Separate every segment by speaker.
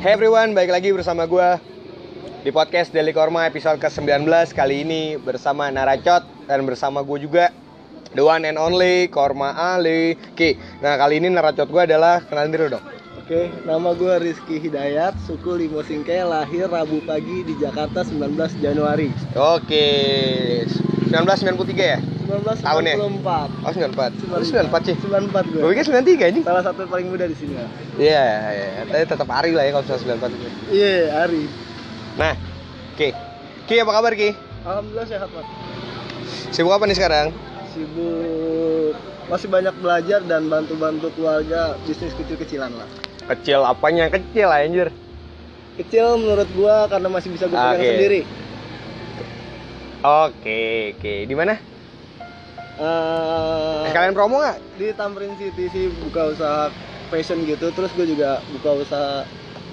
Speaker 1: Hey everyone, balik lagi bersama gue di podcast Daily Korma episode ke-19 Kali ini bersama Naracot dan bersama gue juga The one and only Korma Ali Ki, nah kali ini Naracot gue adalah, kenalin diri dong
Speaker 2: Oke, nama gue Rizky Hidayat, suku Limo Singke, lahir Rabu pagi di Jakarta 19 Januari
Speaker 1: Oke, 1993 ya?
Speaker 2: 1994
Speaker 1: Tahunnya? Oh 94, Oh, 94 sih
Speaker 2: 94 gue
Speaker 1: Gue pikir 93 anjing
Speaker 2: Salah satu yang paling muda di sini ya? Mas.
Speaker 1: Iya, iya, tapi tetap Ari lah ya kalau misalnya 94 itu
Speaker 2: Iya, Ari
Speaker 1: Nah, Ki, Ki apa kabar Ki?
Speaker 2: Alhamdulillah sehat Mas
Speaker 1: Sibuk apa nih sekarang?
Speaker 2: Sibuk masih banyak belajar dan bantu-bantu keluarga bisnis kecil-kecilan lah
Speaker 1: Kecil apanya? Kecil lah anjir
Speaker 2: Kecil menurut gue karena masih bisa gue pegang
Speaker 1: Oke.
Speaker 2: sendiri
Speaker 1: Oke, oke. Di mana?
Speaker 2: Eh,
Speaker 1: Sekalian promo nggak?
Speaker 2: di Tamrin City sih buka usaha fashion gitu terus gue juga buka usaha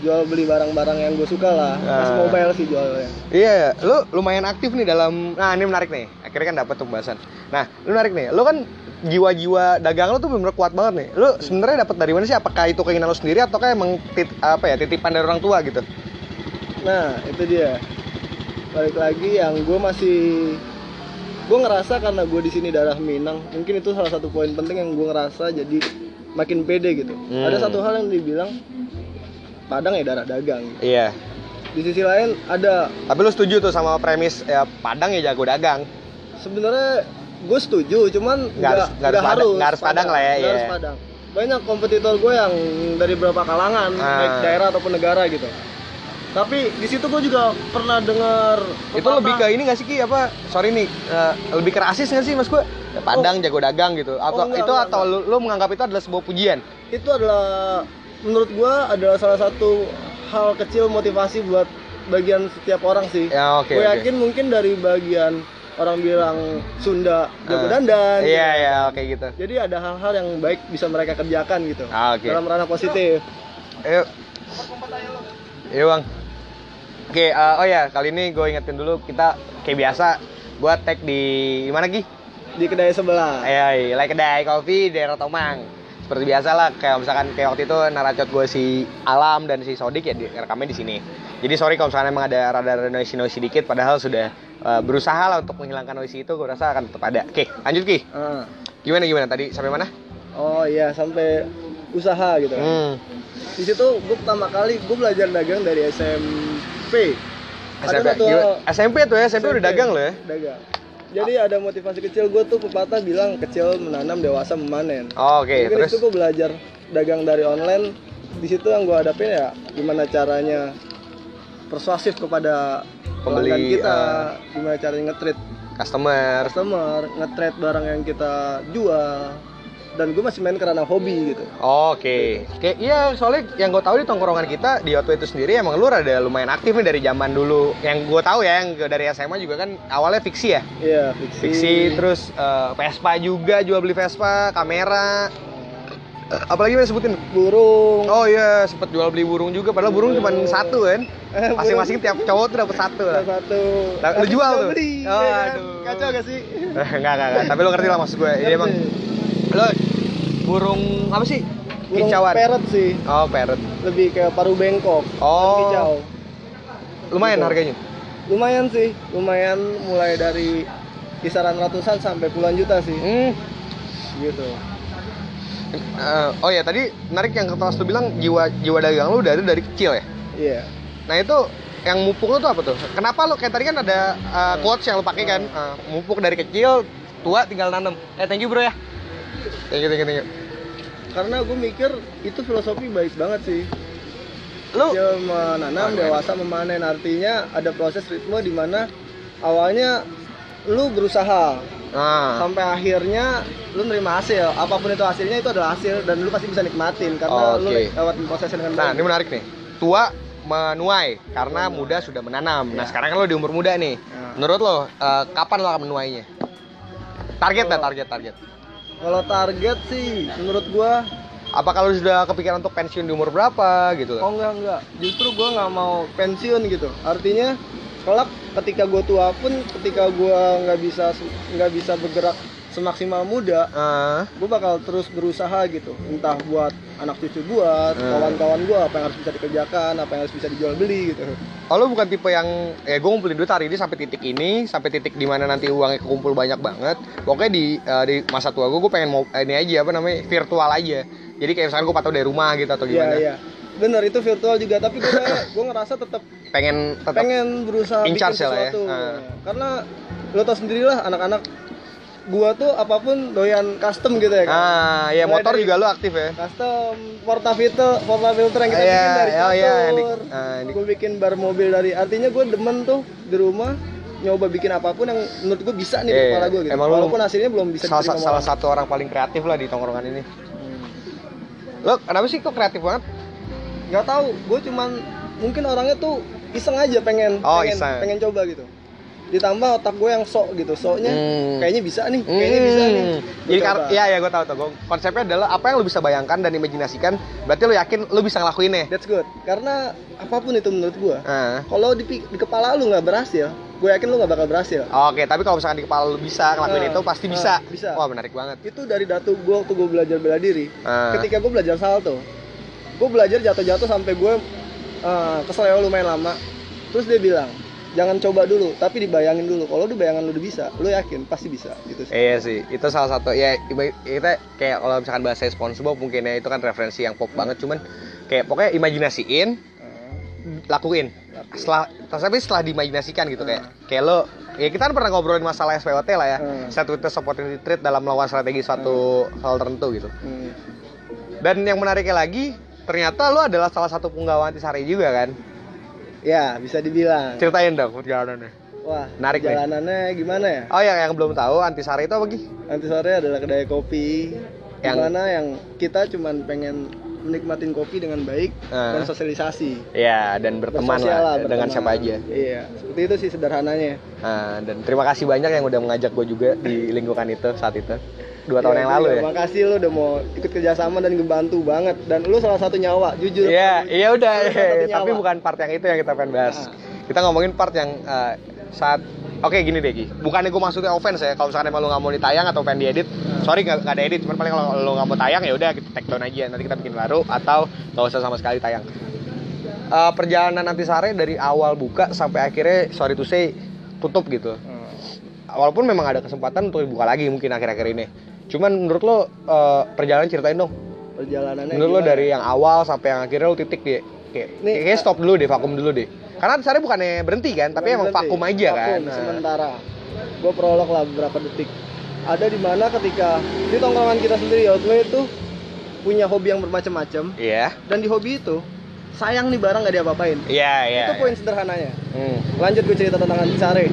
Speaker 2: jual beli barang-barang yang gue suka lah masih
Speaker 1: Ah.
Speaker 2: mobile sih jualnya
Speaker 1: Iya, lu lumayan aktif nih dalam. Nah, ini menarik nih. Akhirnya kan dapat pembahasan. Nah, lu menarik nih. Lu kan jiwa-jiwa dagang lu tuh benar kuat banget nih. Lu sebenarnya dapat dari mana sih? Apakah itu keinginan lu sendiri ataukah emang tit, apa ya titipan dari orang tua gitu?
Speaker 2: nah itu dia balik lagi yang gue masih gue ngerasa karena gue di sini darah Minang mungkin itu salah satu poin penting yang gue ngerasa jadi makin pede gitu
Speaker 1: Hmm.
Speaker 2: ada satu hal yang dibilang Padang ya darah dagang
Speaker 1: Iya.
Speaker 2: di sisi lain ada
Speaker 1: Tapi lu setuju tuh sama premis ya, Padang ya jago dagang.
Speaker 2: sebenarnya gue setuju cuman
Speaker 1: Nggak harus- nggak harus Padang- nggak harus Padang lah ya,
Speaker 2: nggak
Speaker 1: iya.
Speaker 2: harus padang banyak kompetitor gue yang dari beberapa kalangan
Speaker 1: Ah.
Speaker 2: baik daerah ataupun negara gitu tapi di situ gue juga pernah dengar
Speaker 1: Itu lebih ke ini nggak sih Ki apa? Sorry nih, eh, lebih ke rasis nggak sih Mas gua? Ya, Padang jago dagang gitu. Atau
Speaker 2: enggak,
Speaker 1: itu
Speaker 2: enggak,
Speaker 1: atau lu, lu menganggap itu adalah sebuah pujian?
Speaker 2: itu adalah menurut gue adalah salah satu hal kecil motivasi buat bagian setiap orang sih
Speaker 1: Ya, oke.
Speaker 2: gue
Speaker 1: oke.
Speaker 2: yakin mungkin dari bagian orang bilang Sunda jago
Speaker 1: Ah.
Speaker 2: dandan
Speaker 1: Iya, iya, oke gitu.
Speaker 2: jadi ada hal-hal yang baik bisa mereka kerjakan gitu
Speaker 1: Ah, oke.
Speaker 2: dalam ranah positif
Speaker 1: Ayo. Iya bang. Oke, eh, oh ya kali ini gue ingetin dulu kita kayak biasa gue tag di di mana Ki?
Speaker 2: di kedai sebelah
Speaker 1: Ayo, like kedai kopi daerah Tomang. Seperti biasa lah, kayak misalkan kayak waktu itu naracot gue si Alam dan si Sodik ya di, rekamnya di sini. Jadi sorry kalau misalnya emang ada rada noisy noisy dikit, padahal sudah eh, berusaha lah untuk menghilangkan noisy itu, gue rasa akan tetap ada. Oke, lanjut Ki.
Speaker 2: Ah.
Speaker 1: Gimana gimana tadi sampai mana?
Speaker 2: Oh iya sampai usaha gitu.
Speaker 1: Hmm.
Speaker 2: Di situ gue pertama kali gue belajar dagang dari SMP. Ada
Speaker 1: SMP,
Speaker 2: satu
Speaker 1: Gimana?
Speaker 2: hal-
Speaker 1: SMP tuh ya, SMP, udah dagang loh ya.
Speaker 2: Dagang. Jadi ada motivasi kecil gue tuh pepatah bilang kecil menanam dewasa memanen.
Speaker 1: Oke,
Speaker 2: Mungkin
Speaker 1: terus.
Speaker 2: itu gue belajar dagang dari online. Di situ yang gue hadapin ya gimana caranya persuasif kepada
Speaker 1: Pembeli,
Speaker 2: pelanggan kita,
Speaker 1: ah.
Speaker 2: gimana caranya nge-treat
Speaker 1: Customer.
Speaker 2: customer, nge-treat barang yang kita jual. Dan gue masih main karena hobi gitu.
Speaker 1: Oke, oke, iya soalnya yang gue tahu di tongkrongan kita di Oto itu sendiri emang lu rada lumayan aktif nih dari zaman dulu. Yang gue tahu ya, yang gua dari SMA juga kan awalnya fiksi ya,
Speaker 2: Iya, fiksi.
Speaker 1: fiksi terus eh, Vespa juga jual beli Vespa, kamera, Eh, apalagi yang sebutin.
Speaker 2: burung
Speaker 1: Oh iya, sempet jual beli burung juga. Padahal burung cuma satu kan.
Speaker 2: Eh, burung.
Speaker 1: Masing-masing tiap cowok tuh dapet satu lah.
Speaker 2: satu
Speaker 1: Lah, lu
Speaker 2: Tapi
Speaker 1: jual
Speaker 2: bisa
Speaker 1: tuh?
Speaker 2: beli, ya
Speaker 1: Oh,
Speaker 2: kan?
Speaker 1: aduh.
Speaker 2: kacau gak sih
Speaker 1: Enggak, enggak, enggak. Tapi lu ngerti lah maksud gue. Jadi emang lu burung apa sih?
Speaker 2: burung
Speaker 1: Kicauan.
Speaker 2: parrot sih
Speaker 1: Oh, parrot.
Speaker 2: lebih kayak paru bengkok
Speaker 1: Oh.
Speaker 2: kicau
Speaker 1: Lumayan
Speaker 2: Gitu.
Speaker 1: harganya.
Speaker 2: lumayan sih lumayan mulai dari kisaran ratusan sampai puluhan juta sih
Speaker 1: Hmm.
Speaker 2: gitu
Speaker 1: Eh, oh ya tadi menarik yang kelas lu bilang jiwa jiwa dagang lu dari dari kecil ya.
Speaker 2: iya
Speaker 1: Nah itu yang mupuk lu tuh apa tuh? Kenapa lu kayak tadi kan ada eh, quotes yang lu pakai kan? Eh, mupuk dari kecil, tua tinggal nanam. Eh thank you bro ya. Thank you thank you thank you.
Speaker 2: karena gue mikir itu filosofi baik banget sih
Speaker 1: Lu
Speaker 2: kecil menanam dewasa memanen artinya ada proses ritme di mana awalnya lu berusaha
Speaker 1: ah.
Speaker 2: sampai akhirnya lu nerima hasil apapun itu hasilnya itu adalah hasil dan lu pasti bisa nikmatin karena
Speaker 1: Oke.
Speaker 2: lu lewatin prosesnya dengan
Speaker 1: Nah,
Speaker 2: baik
Speaker 1: ini menarik nih. Tua menuai karena muda sudah menanam. Nah, sekarang kan lo di umur muda nih.
Speaker 2: Ya.
Speaker 1: Menurut lo eh, kapan lo akan menuainya? Target dah, target, target.
Speaker 2: kalau target sih menurut gua
Speaker 1: Apakah lo sudah kepikiran untuk pensiun di umur berapa gitu?
Speaker 2: oh enggak enggak justru gua nggak mau pensiun gitu artinya kelak ketika gua tua pun ketika gua nggak bisa nggak bisa bergerak semaksimal muda
Speaker 1: Eh,
Speaker 2: gue bakal terus berusaha gitu entah buat anak cucu gue
Speaker 1: Hmm.
Speaker 2: kawan-kawan gue apa yang harus bisa dikerjakan apa yang harus bisa dijual beli gitu
Speaker 1: oh, lo bukan tipe yang ya gue ngumpulin duit hari ini sampai titik ini sampai titik dimana nanti uangnya kekumpul banyak banget pokoknya di eh, di masa tua gue gue pengen mau eh, ini aja apa namanya virtual aja jadi kayak misalkan gue patah dari rumah gitu atau
Speaker 2: iya
Speaker 1: gimana
Speaker 2: iya bener itu virtual juga tapi gue gue ngerasa tetap
Speaker 1: pengen tetap
Speaker 2: pengen berusaha
Speaker 1: In
Speaker 2: bikin
Speaker 1: charge ya lah ya.
Speaker 2: sesuatu
Speaker 1: Ah.
Speaker 2: karena lo tau sendirilah anak-anak gua tuh apapun doyan custom gitu ya kan
Speaker 1: ah ya
Speaker 2: Mulai
Speaker 1: motor
Speaker 2: dari-
Speaker 1: juga lo aktif ya
Speaker 2: custom porta filter porta filter yang kita
Speaker 1: Iya,
Speaker 2: bikin dari
Speaker 1: oh iya, yang di-
Speaker 2: catur
Speaker 1: ah, di-
Speaker 2: gue bikin bar mobil dari artinya gue demen tuh di rumah nyoba bikin apapun yang menurut gue bisa nih di
Speaker 1: Iya,
Speaker 2: kepala gue gitu
Speaker 1: emang lu
Speaker 2: walaupun hasilnya belum bisa
Speaker 1: salah,
Speaker 2: diterima
Speaker 1: salah
Speaker 2: orang. Hmm.
Speaker 1: satu orang paling kreatif lah di tongkrongan ini lo kenapa sih kok kreatif banget
Speaker 2: nggak tahu gue cuman mungkin orangnya tuh iseng aja pengen
Speaker 1: Oh,
Speaker 2: pengen,
Speaker 1: iseng.
Speaker 2: pengen coba gitu ditambah otak gue yang sok gitu soknya
Speaker 1: Hmm.
Speaker 2: kayaknya bisa nih kayaknya bisa nih
Speaker 1: Hmm.
Speaker 2: Gua
Speaker 1: Jadi kar-
Speaker 2: coba.
Speaker 1: ya ya gue tahu tuh. Gua- konsepnya adalah apa yang lo bisa bayangkan dan imajinasikan, berarti lo yakin lo bisa ngelakuinnya. Ah.
Speaker 2: that's good karena apapun itu menurut gue
Speaker 1: Heeh.
Speaker 2: kalau di, pi- di kepala lu nggak berhasil gue yakin lu nggak bakal berhasil
Speaker 1: Oke, tapi kalau misalkan di kepala lo bisa ngelakuin
Speaker 2: Ah,
Speaker 1: itu pasti
Speaker 2: ah,
Speaker 1: bisa.
Speaker 2: bisa.
Speaker 1: Wah, menarik banget.
Speaker 2: itu dari datu gue waktu gue belajar bela diri
Speaker 1: Ah.
Speaker 2: ketika gue belajar salto gue belajar jatuh-jatuh sampai gue eh, keseleo lumayan lama terus dia bilang jangan coba dulu tapi dibayangin dulu kalau lu bayangan lu udah bisa lu yakin pasti bisa gitu sih
Speaker 1: Iya sih, itu salah satu ya iba- kita kayak kalau misalkan bahasa SpongeBob mungkin ya itu kan referensi yang pop banget cuman kayak pokoknya imajinasiin,
Speaker 2: Ah,
Speaker 1: lakuin.
Speaker 2: Lakuin. Eh.
Speaker 1: Setelah tapi setelah diimajinasikan gitu kayak kayak lo ya kita kan pernah ngobrolin masalah SPOT lah ya.
Speaker 2: Hmm.
Speaker 1: Satu itu opportunity trade dalam melawan strategi suatu hal tertentu gitu.
Speaker 2: Hmm.
Speaker 1: Dan yang menariknya lagi, ternyata lo adalah salah satu penggawa antisari juga kan?
Speaker 2: ya bisa dibilang
Speaker 1: Ceritain dong perjalanannya.
Speaker 2: wah
Speaker 1: Menarik nih.
Speaker 2: jalanannya gimana ya
Speaker 1: Oh yang yang belum tahu antisari itu apa Gi?
Speaker 2: nanti sore adalah kedai kopi yang
Speaker 1: Yang-
Speaker 2: mana yang kita cuman pengen menikmatin kopi dengan baik
Speaker 1: Ah.
Speaker 2: dan sosialisasi
Speaker 1: Ya dan berteman
Speaker 2: Bersosial
Speaker 1: lah dengan
Speaker 2: berteman.
Speaker 1: siapa aja.
Speaker 2: iya seperti itu sih sederhananya
Speaker 1: Nah, dan terima kasih banyak yang udah mengajak gue juga di lingkungan itu saat itu dua tahun
Speaker 2: Iya,
Speaker 1: yang lalu
Speaker 2: iya,
Speaker 1: ya.
Speaker 2: makasih lu udah mau ikut kerjasama dan ngebantu banget dan lu salah satu nyawa jujur
Speaker 1: Iya, iya udah.
Speaker 2: Salah satu nyawa.
Speaker 1: Tapi bukan part yang itu yang kita pengen bahas.
Speaker 2: Nah.
Speaker 1: Kita ngomongin part yang eh, saat Oke gini deh Gi, bukannya gue maksudnya offense ya Kalau misalnya emang lo gak mau ditayang atau pengen diedit Sorry gak, ada edit, cuman paling kalau lo gak mau tayang ya udah kita take down aja Nanti kita bikin baru atau gak usah sama sekali tayang Eh, Perjalanan nanti sare dari awal buka sampai akhirnya sorry to say tutup gitu
Speaker 2: Hmm.
Speaker 1: Walaupun memang ada kesempatan untuk dibuka lagi mungkin akhir-akhir ini Cuman menurut lo eh, perjalanan ceritain dong
Speaker 2: perjalanannya
Speaker 1: Menurut lo
Speaker 2: gimana?
Speaker 1: dari yang awal sampai yang akhirnya lo titik deh kayak,
Speaker 2: Nih,
Speaker 1: kayaknya stop dulu deh, vakum dulu deh. Karena sehari bukannya berhenti kan, tapi emang
Speaker 2: Berhenti.
Speaker 1: vakum aja kan.
Speaker 2: Vakum,
Speaker 1: Nah,
Speaker 2: sementara gue prolog lah beberapa detik ada di mana ketika di tongkrongan kita sendiri Outway itu punya hobi yang bermacam-macam
Speaker 1: Iya.
Speaker 2: dan di hobi itu sayang nih barang gak diapa-apain
Speaker 1: Iya, iya.
Speaker 2: itu
Speaker 1: iya.
Speaker 2: poin sederhananya
Speaker 1: Hmm.
Speaker 2: lanjut gue cerita tentang Antisare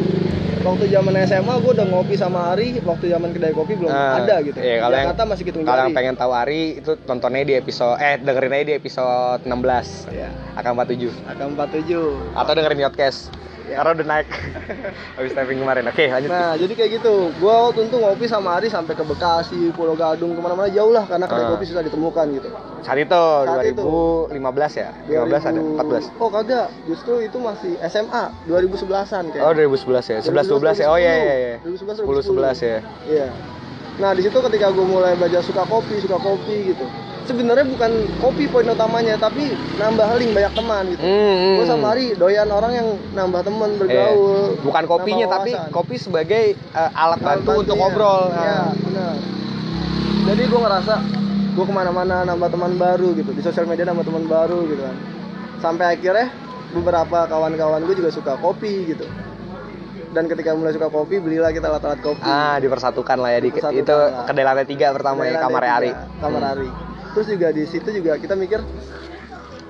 Speaker 2: waktu zaman SMA gue udah ngopi sama Ari waktu zaman kedai kopi belum
Speaker 1: Ah,
Speaker 2: ada gitu
Speaker 1: iya, kalau yang-
Speaker 2: Jakarta masih hitung
Speaker 1: Kalau
Speaker 2: jari
Speaker 1: yang pengen tahu Ari itu tontonnya di episode eh dengerin aja di episode 16
Speaker 2: ya
Speaker 1: AK47
Speaker 2: AK47
Speaker 1: atau dengerin podcast
Speaker 2: Iya.
Speaker 1: karena udah naik habis taping kemarin. Oke, lanjut.
Speaker 2: nah jadi kayak gitu gue waktu itu ngopi sama Ari sampai ke Bekasi Pulau Gadung kemana-mana jauh lah karena kedai
Speaker 1: Ah.
Speaker 2: kopi susah ditemukan gitu
Speaker 1: Saat itu
Speaker 2: Saat itu.
Speaker 1: 2015 ya? 15 ada 14.
Speaker 2: 2000 oh kagak justru itu masih SMA 2011an kayak
Speaker 1: Oh 2011 ya, 11 12 ya. Oh iya iya iya.
Speaker 2: 2011
Speaker 1: 10 11 ya.
Speaker 2: Iya. Nah di situ ketika gue mulai belajar suka kopi, suka kopi gitu. Sebenarnya bukan kopi poin utamanya, tapi nambah link banyak teman gitu.
Speaker 1: Hmm.
Speaker 2: Gue sama Ari doyan orang yang nambah teman bergaul.
Speaker 1: Iya. bukan kopinya
Speaker 2: nambah
Speaker 1: tapi
Speaker 2: wawasan.
Speaker 1: kopi sebagai eh, alat
Speaker 2: Alat
Speaker 1: bantu untuk
Speaker 2: bantunya.
Speaker 1: ngobrol
Speaker 2: Iya,
Speaker 1: Nah.
Speaker 2: benar. Jadi gue ngerasa gue kemana-mana nambah teman baru gitu di sosial media nambah teman baru gitu kan. Sampai akhirnya beberapa kawan-kawan gue juga suka kopi gitu. Dan ketika mulai suka kopi, belilah kita alat-alat kopi.
Speaker 1: ah dipersatukan lah ya di,
Speaker 2: Dipersatukan
Speaker 1: itu
Speaker 2: lah.
Speaker 1: kedai lantai tiga pertama ya
Speaker 2: Thailand
Speaker 1: kamar
Speaker 2: ya,
Speaker 1: Ari Hmm.
Speaker 2: tiga, kamar Ari terus juga di situ juga kita mikir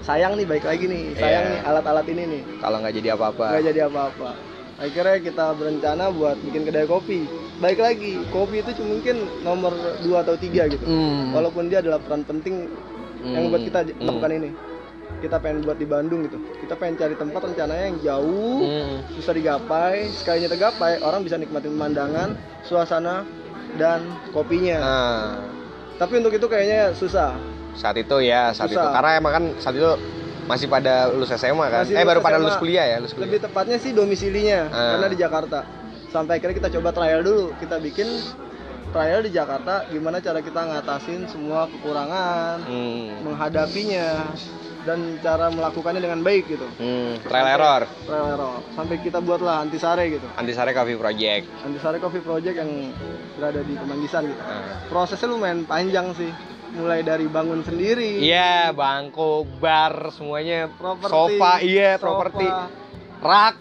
Speaker 2: sayang nih baik lagi nih sayang
Speaker 1: Iya.
Speaker 2: nih alat-alat ini nih
Speaker 1: Hmm. kalau nggak jadi apa-apa
Speaker 2: nggak jadi apa-apa akhirnya kita berencana buat bikin kedai kopi baik lagi kopi itu cuma mungkin nomor 2 atau tiga gitu
Speaker 1: Hmm.
Speaker 2: walaupun dia adalah peran penting yang
Speaker 1: Hmm.
Speaker 2: buat kita di-
Speaker 1: Hmm.
Speaker 2: lakukan ini kita pengen buat di Bandung gitu kita pengen cari tempat rencananya yang jauh
Speaker 1: Hmm.
Speaker 2: bisa digapai sekalinya tergapai orang bisa nikmatin pemandangan suasana dan kopinya
Speaker 1: Nah,
Speaker 2: tapi untuk itu kayaknya susah
Speaker 1: saat itu ya saat itu
Speaker 2: Susah.
Speaker 1: karena emang kan saat itu masih pada lulus SMA kan
Speaker 2: Masih
Speaker 1: eh
Speaker 2: lulus
Speaker 1: baru pada
Speaker 2: SMA.
Speaker 1: lulus kuliah ya lulus kuliah
Speaker 2: lebih tepatnya sih domisilinya
Speaker 1: Ah.
Speaker 2: karena di Jakarta sampai akhirnya kita coba trial dulu kita bikin trial di Jakarta gimana cara kita ngatasin semua kekurangan
Speaker 1: Hmm.
Speaker 2: menghadapinya dan cara melakukannya dengan baik gitu
Speaker 1: Hmm, trial error.
Speaker 2: trial error sampai kita buatlah antisare gitu
Speaker 1: Antisare Coffee Project.
Speaker 2: antisare coffee project yang berada di Kemanggisan gitu
Speaker 1: Nah.
Speaker 2: prosesnya lumayan panjang sih mulai dari bangun sendiri
Speaker 1: Iya, bangku, bar, semuanya,
Speaker 2: properti
Speaker 1: sofa, iya,
Speaker 2: sofa,
Speaker 1: properti, rak.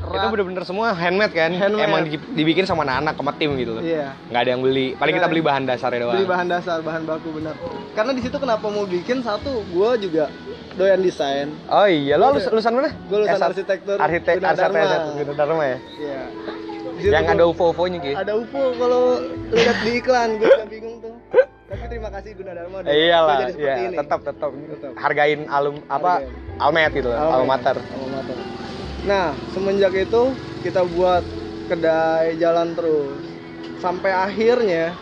Speaker 1: Itu
Speaker 2: rak,
Speaker 1: bener-bener semua handmade kan?
Speaker 2: Handmade.
Speaker 1: Emang di- dibikin sama anak-anak sama tim gitu loh.
Speaker 2: iya
Speaker 1: Nggak ada yang beli. Paling kita beli bahan dasarnya doang.
Speaker 2: beli bahan dasar bahan baku benar karena di situ kenapa mau bikin satu gue juga doyan desain
Speaker 1: Oh iya, lo lulus, lulusan mana?
Speaker 2: gue lulusan
Speaker 1: S1.
Speaker 2: arsitektur
Speaker 1: Arsitek,
Speaker 2: Gunadarma.
Speaker 1: arsitek, Gunadarma ya.
Speaker 2: Iya. Di situ
Speaker 1: Yang
Speaker 2: gua-
Speaker 1: ada UFO-UFO-nya gitu.
Speaker 2: ada UFO kalau lihat di iklan gue juga bingung tuh tapi terima kasih Gunadarma udah-
Speaker 1: Iya lah,
Speaker 2: gua jadi seperti
Speaker 1: iya,
Speaker 2: ini.
Speaker 1: tetap tetap
Speaker 2: Tetap.
Speaker 1: hargain alum apa almet gitu,
Speaker 2: Alma
Speaker 1: alma mater.
Speaker 2: Alma mater. Nah, semenjak itu kita buat kedai jalan terus sampai akhirnya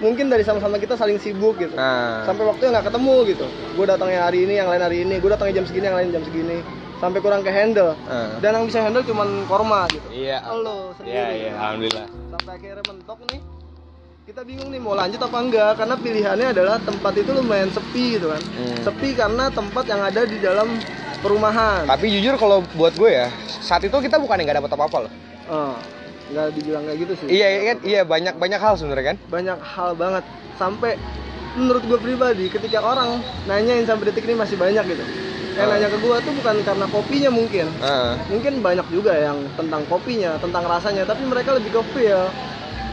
Speaker 2: mungkin dari sama-sama kita saling sibuk gitu.
Speaker 1: Nah,
Speaker 2: Sampai waktunya nggak ketemu gitu. Gue datangnya hari ini, yang lain hari ini. Gue datangnya jam segini, yang lain jam segini. Sampai kurang ke handle.
Speaker 1: eh.
Speaker 2: Dan yang bisa handle cuman korma gitu.
Speaker 1: iya,
Speaker 2: Lo sendiri.
Speaker 1: iya, iya, alhamdulillah.
Speaker 2: Sampai akhirnya mentok nih. Kita bingung nih mau lanjut apa enggak karena pilihannya adalah tempat itu lumayan sepi gitu kan.
Speaker 1: Hmm.
Speaker 2: Sepi karena tempat yang ada di dalam perumahan.
Speaker 1: Tapi jujur kalau buat gue ya, saat itu kita bukan nggak dapat apa-apa loh.
Speaker 2: Oh, nggak dibilang kayak gitu sih.
Speaker 1: Iya, iya kan? Iya, banyak banyak hal sebenarnya kan.
Speaker 2: Banyak hal banget sampai menurut gue pribadi ketika orang nanyain sampai detik ini masih banyak gitu. Yang
Speaker 1: Oh.
Speaker 2: nanya ke gue tuh bukan karena kopinya mungkin.
Speaker 1: Heeh.
Speaker 2: Mungkin banyak juga yang tentang kopinya, tentang rasanya, tapi mereka lebih ke feel.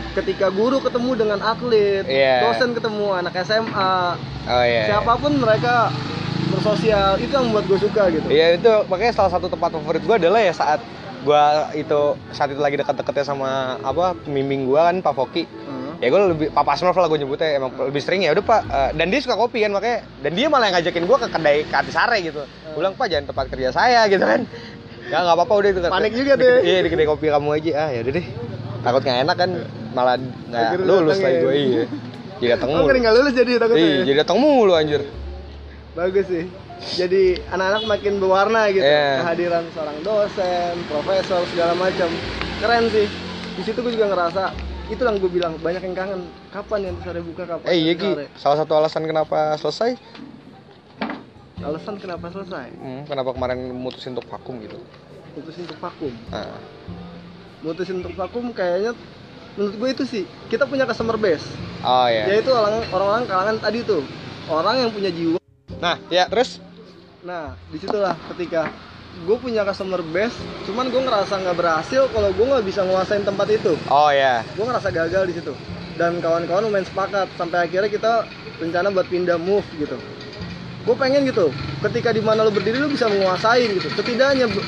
Speaker 2: Ketika guru ketemu dengan atlet,
Speaker 1: Iya.
Speaker 2: dosen ketemu anak SMA,
Speaker 1: Oh iya.
Speaker 2: siapapun mereka bersosial itu yang buat gue suka gitu.
Speaker 1: Iya itu makanya salah satu tempat favorit gue adalah ya saat gue itu saat itu lagi dekat-dekatnya sama apa pembimbing gue kan Pak Foki.
Speaker 2: Heeh.
Speaker 1: ya gue lebih Papa Smurf lah gue nyebutnya emang lebih sering ya udah pak eh, dan dia suka kopi kan makanya dan dia malah yang ngajakin gue ke kedai ke Antisare gitu Gua bilang pak jangan tempat kerja saya gitu kan ya nggak apa-apa udah itu
Speaker 2: Panik
Speaker 1: Di-
Speaker 2: juga deh.
Speaker 1: iya di kedai kopi kamu aja ah ya udah deh takut nggak enak kan malah nggak
Speaker 2: Akhirnya
Speaker 1: lulus
Speaker 2: datang
Speaker 1: lagi
Speaker 2: ya.
Speaker 1: gue iya jadi datang
Speaker 2: Oh,
Speaker 1: mulu
Speaker 2: nggak lulus jadi takutnya.
Speaker 1: iya
Speaker 2: ya?
Speaker 1: jadi datang mulu anjir
Speaker 2: Bagus sih. Jadi anak-anak makin berwarna gitu.
Speaker 1: Iya.
Speaker 2: Kehadiran seorang dosen, profesor segala macam. Keren sih. Di situ gue juga ngerasa itu yang gue bilang banyak yang kangen. Kapan yang sore buka kapan?
Speaker 1: eh iya
Speaker 2: Antasari?
Speaker 1: Ki salah satu alasan kenapa selesai
Speaker 2: Alasan kenapa selesai?
Speaker 1: hmm, kenapa kemarin mutusin untuk vakum gitu
Speaker 2: Mutusin untuk vakum.
Speaker 1: nah,
Speaker 2: Mutusin untuk vakum kayaknya menurut gue itu sih kita punya customer base
Speaker 1: oh ya
Speaker 2: yaitu orang- orang-orang kalangan tadi tuh orang yang punya jiwa
Speaker 1: nah ya terus
Speaker 2: Nah, disitulah ketika gue punya customer base, cuman gue ngerasa nggak berhasil kalau gue nggak bisa nguasain tempat itu.
Speaker 1: oh ya
Speaker 2: Gue ngerasa gagal di situ. Dan kawan-kawan lumayan sepakat sampai akhirnya kita rencana buat pindah move gitu. Gue pengen gitu, ketika di mana lo berdiri lo bisa menguasain gitu. Setidaknya bu-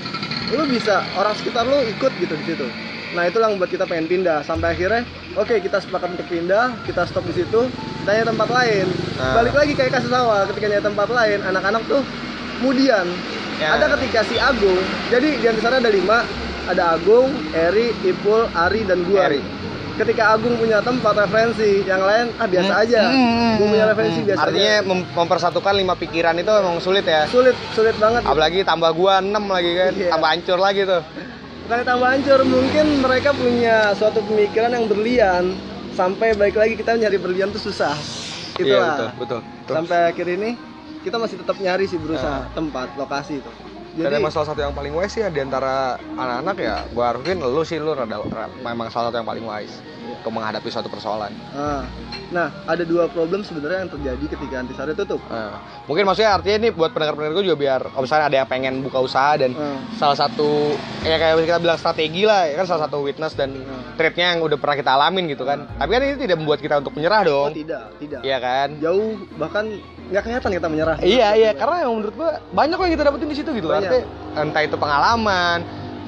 Speaker 2: lo bisa orang sekitar lo ikut gitu di situ. Nah itulah yang buat kita pengen pindah sampai akhirnya oke kita sepakat untuk pindah kita stop di situ tanya tempat lain
Speaker 1: Ah.
Speaker 2: balik lagi kayak kasus awal ketika nyari tempat lain anak-anak tuh kemudian
Speaker 1: Ya.
Speaker 2: ada ketika si Agung jadi di sana ada lima ada Agung Eri Ipul Ari dan gua
Speaker 1: Eri.
Speaker 2: ketika Agung punya tempat referensi yang lain ah biasa
Speaker 1: Hmm.
Speaker 2: aja gua punya referensi biasa
Speaker 1: Artinya
Speaker 2: aja.
Speaker 1: mem- mempersatukan lima pikiran itu emang sulit ya.
Speaker 2: sulit sulit banget
Speaker 1: Apalagi tambah gua 6 lagi kan,
Speaker 2: Iya.
Speaker 1: tambah hancur lagi tuh.
Speaker 2: Bukan tambah hancur, mungkin mereka punya suatu pemikiran yang berlian sampai balik lagi kita nyari berlian tuh susah.
Speaker 1: Iya, betul,
Speaker 2: Itulah.
Speaker 1: betul. betul. Ah.
Speaker 2: sampai akhir ini kita masih tetap nyari sih berusaha tempat, lokasi itu.
Speaker 1: Dan
Speaker 2: Jadi
Speaker 1: emang salah satu yang paling wise ya di antara anak-anak ya, gua harapin lu sih lu rada, ra- memang salah satu yang paling wise untuk menghadapi suatu persoalan.
Speaker 2: ah, nah, ada dua problem sebenarnya yang terjadi ketika Antisari tutup.
Speaker 1: Nah, mungkin maksudnya artinya ini buat pendengar-pendengar gua juga biar kalau misalnya ada yang pengen buka usaha dan
Speaker 2: Ah,
Speaker 1: salah satu ya kayak kita bilang strategi lah ya kan salah satu witness dan
Speaker 2: Hmm.
Speaker 1: trade-nya yang udah pernah kita alamin gitu kan. Tapi kan ini tidak membuat kita untuk menyerah
Speaker 2: oh,
Speaker 1: dong.
Speaker 2: tidak, tidak.
Speaker 1: Iya kan?
Speaker 2: Jauh bahkan nggak kelihatan kita menyerah.
Speaker 1: Iya iya karena yang menurut gua banyak kok yang kita dapetin di situ gitu.
Speaker 2: Banyak.
Speaker 1: Artinya entah itu pengalaman,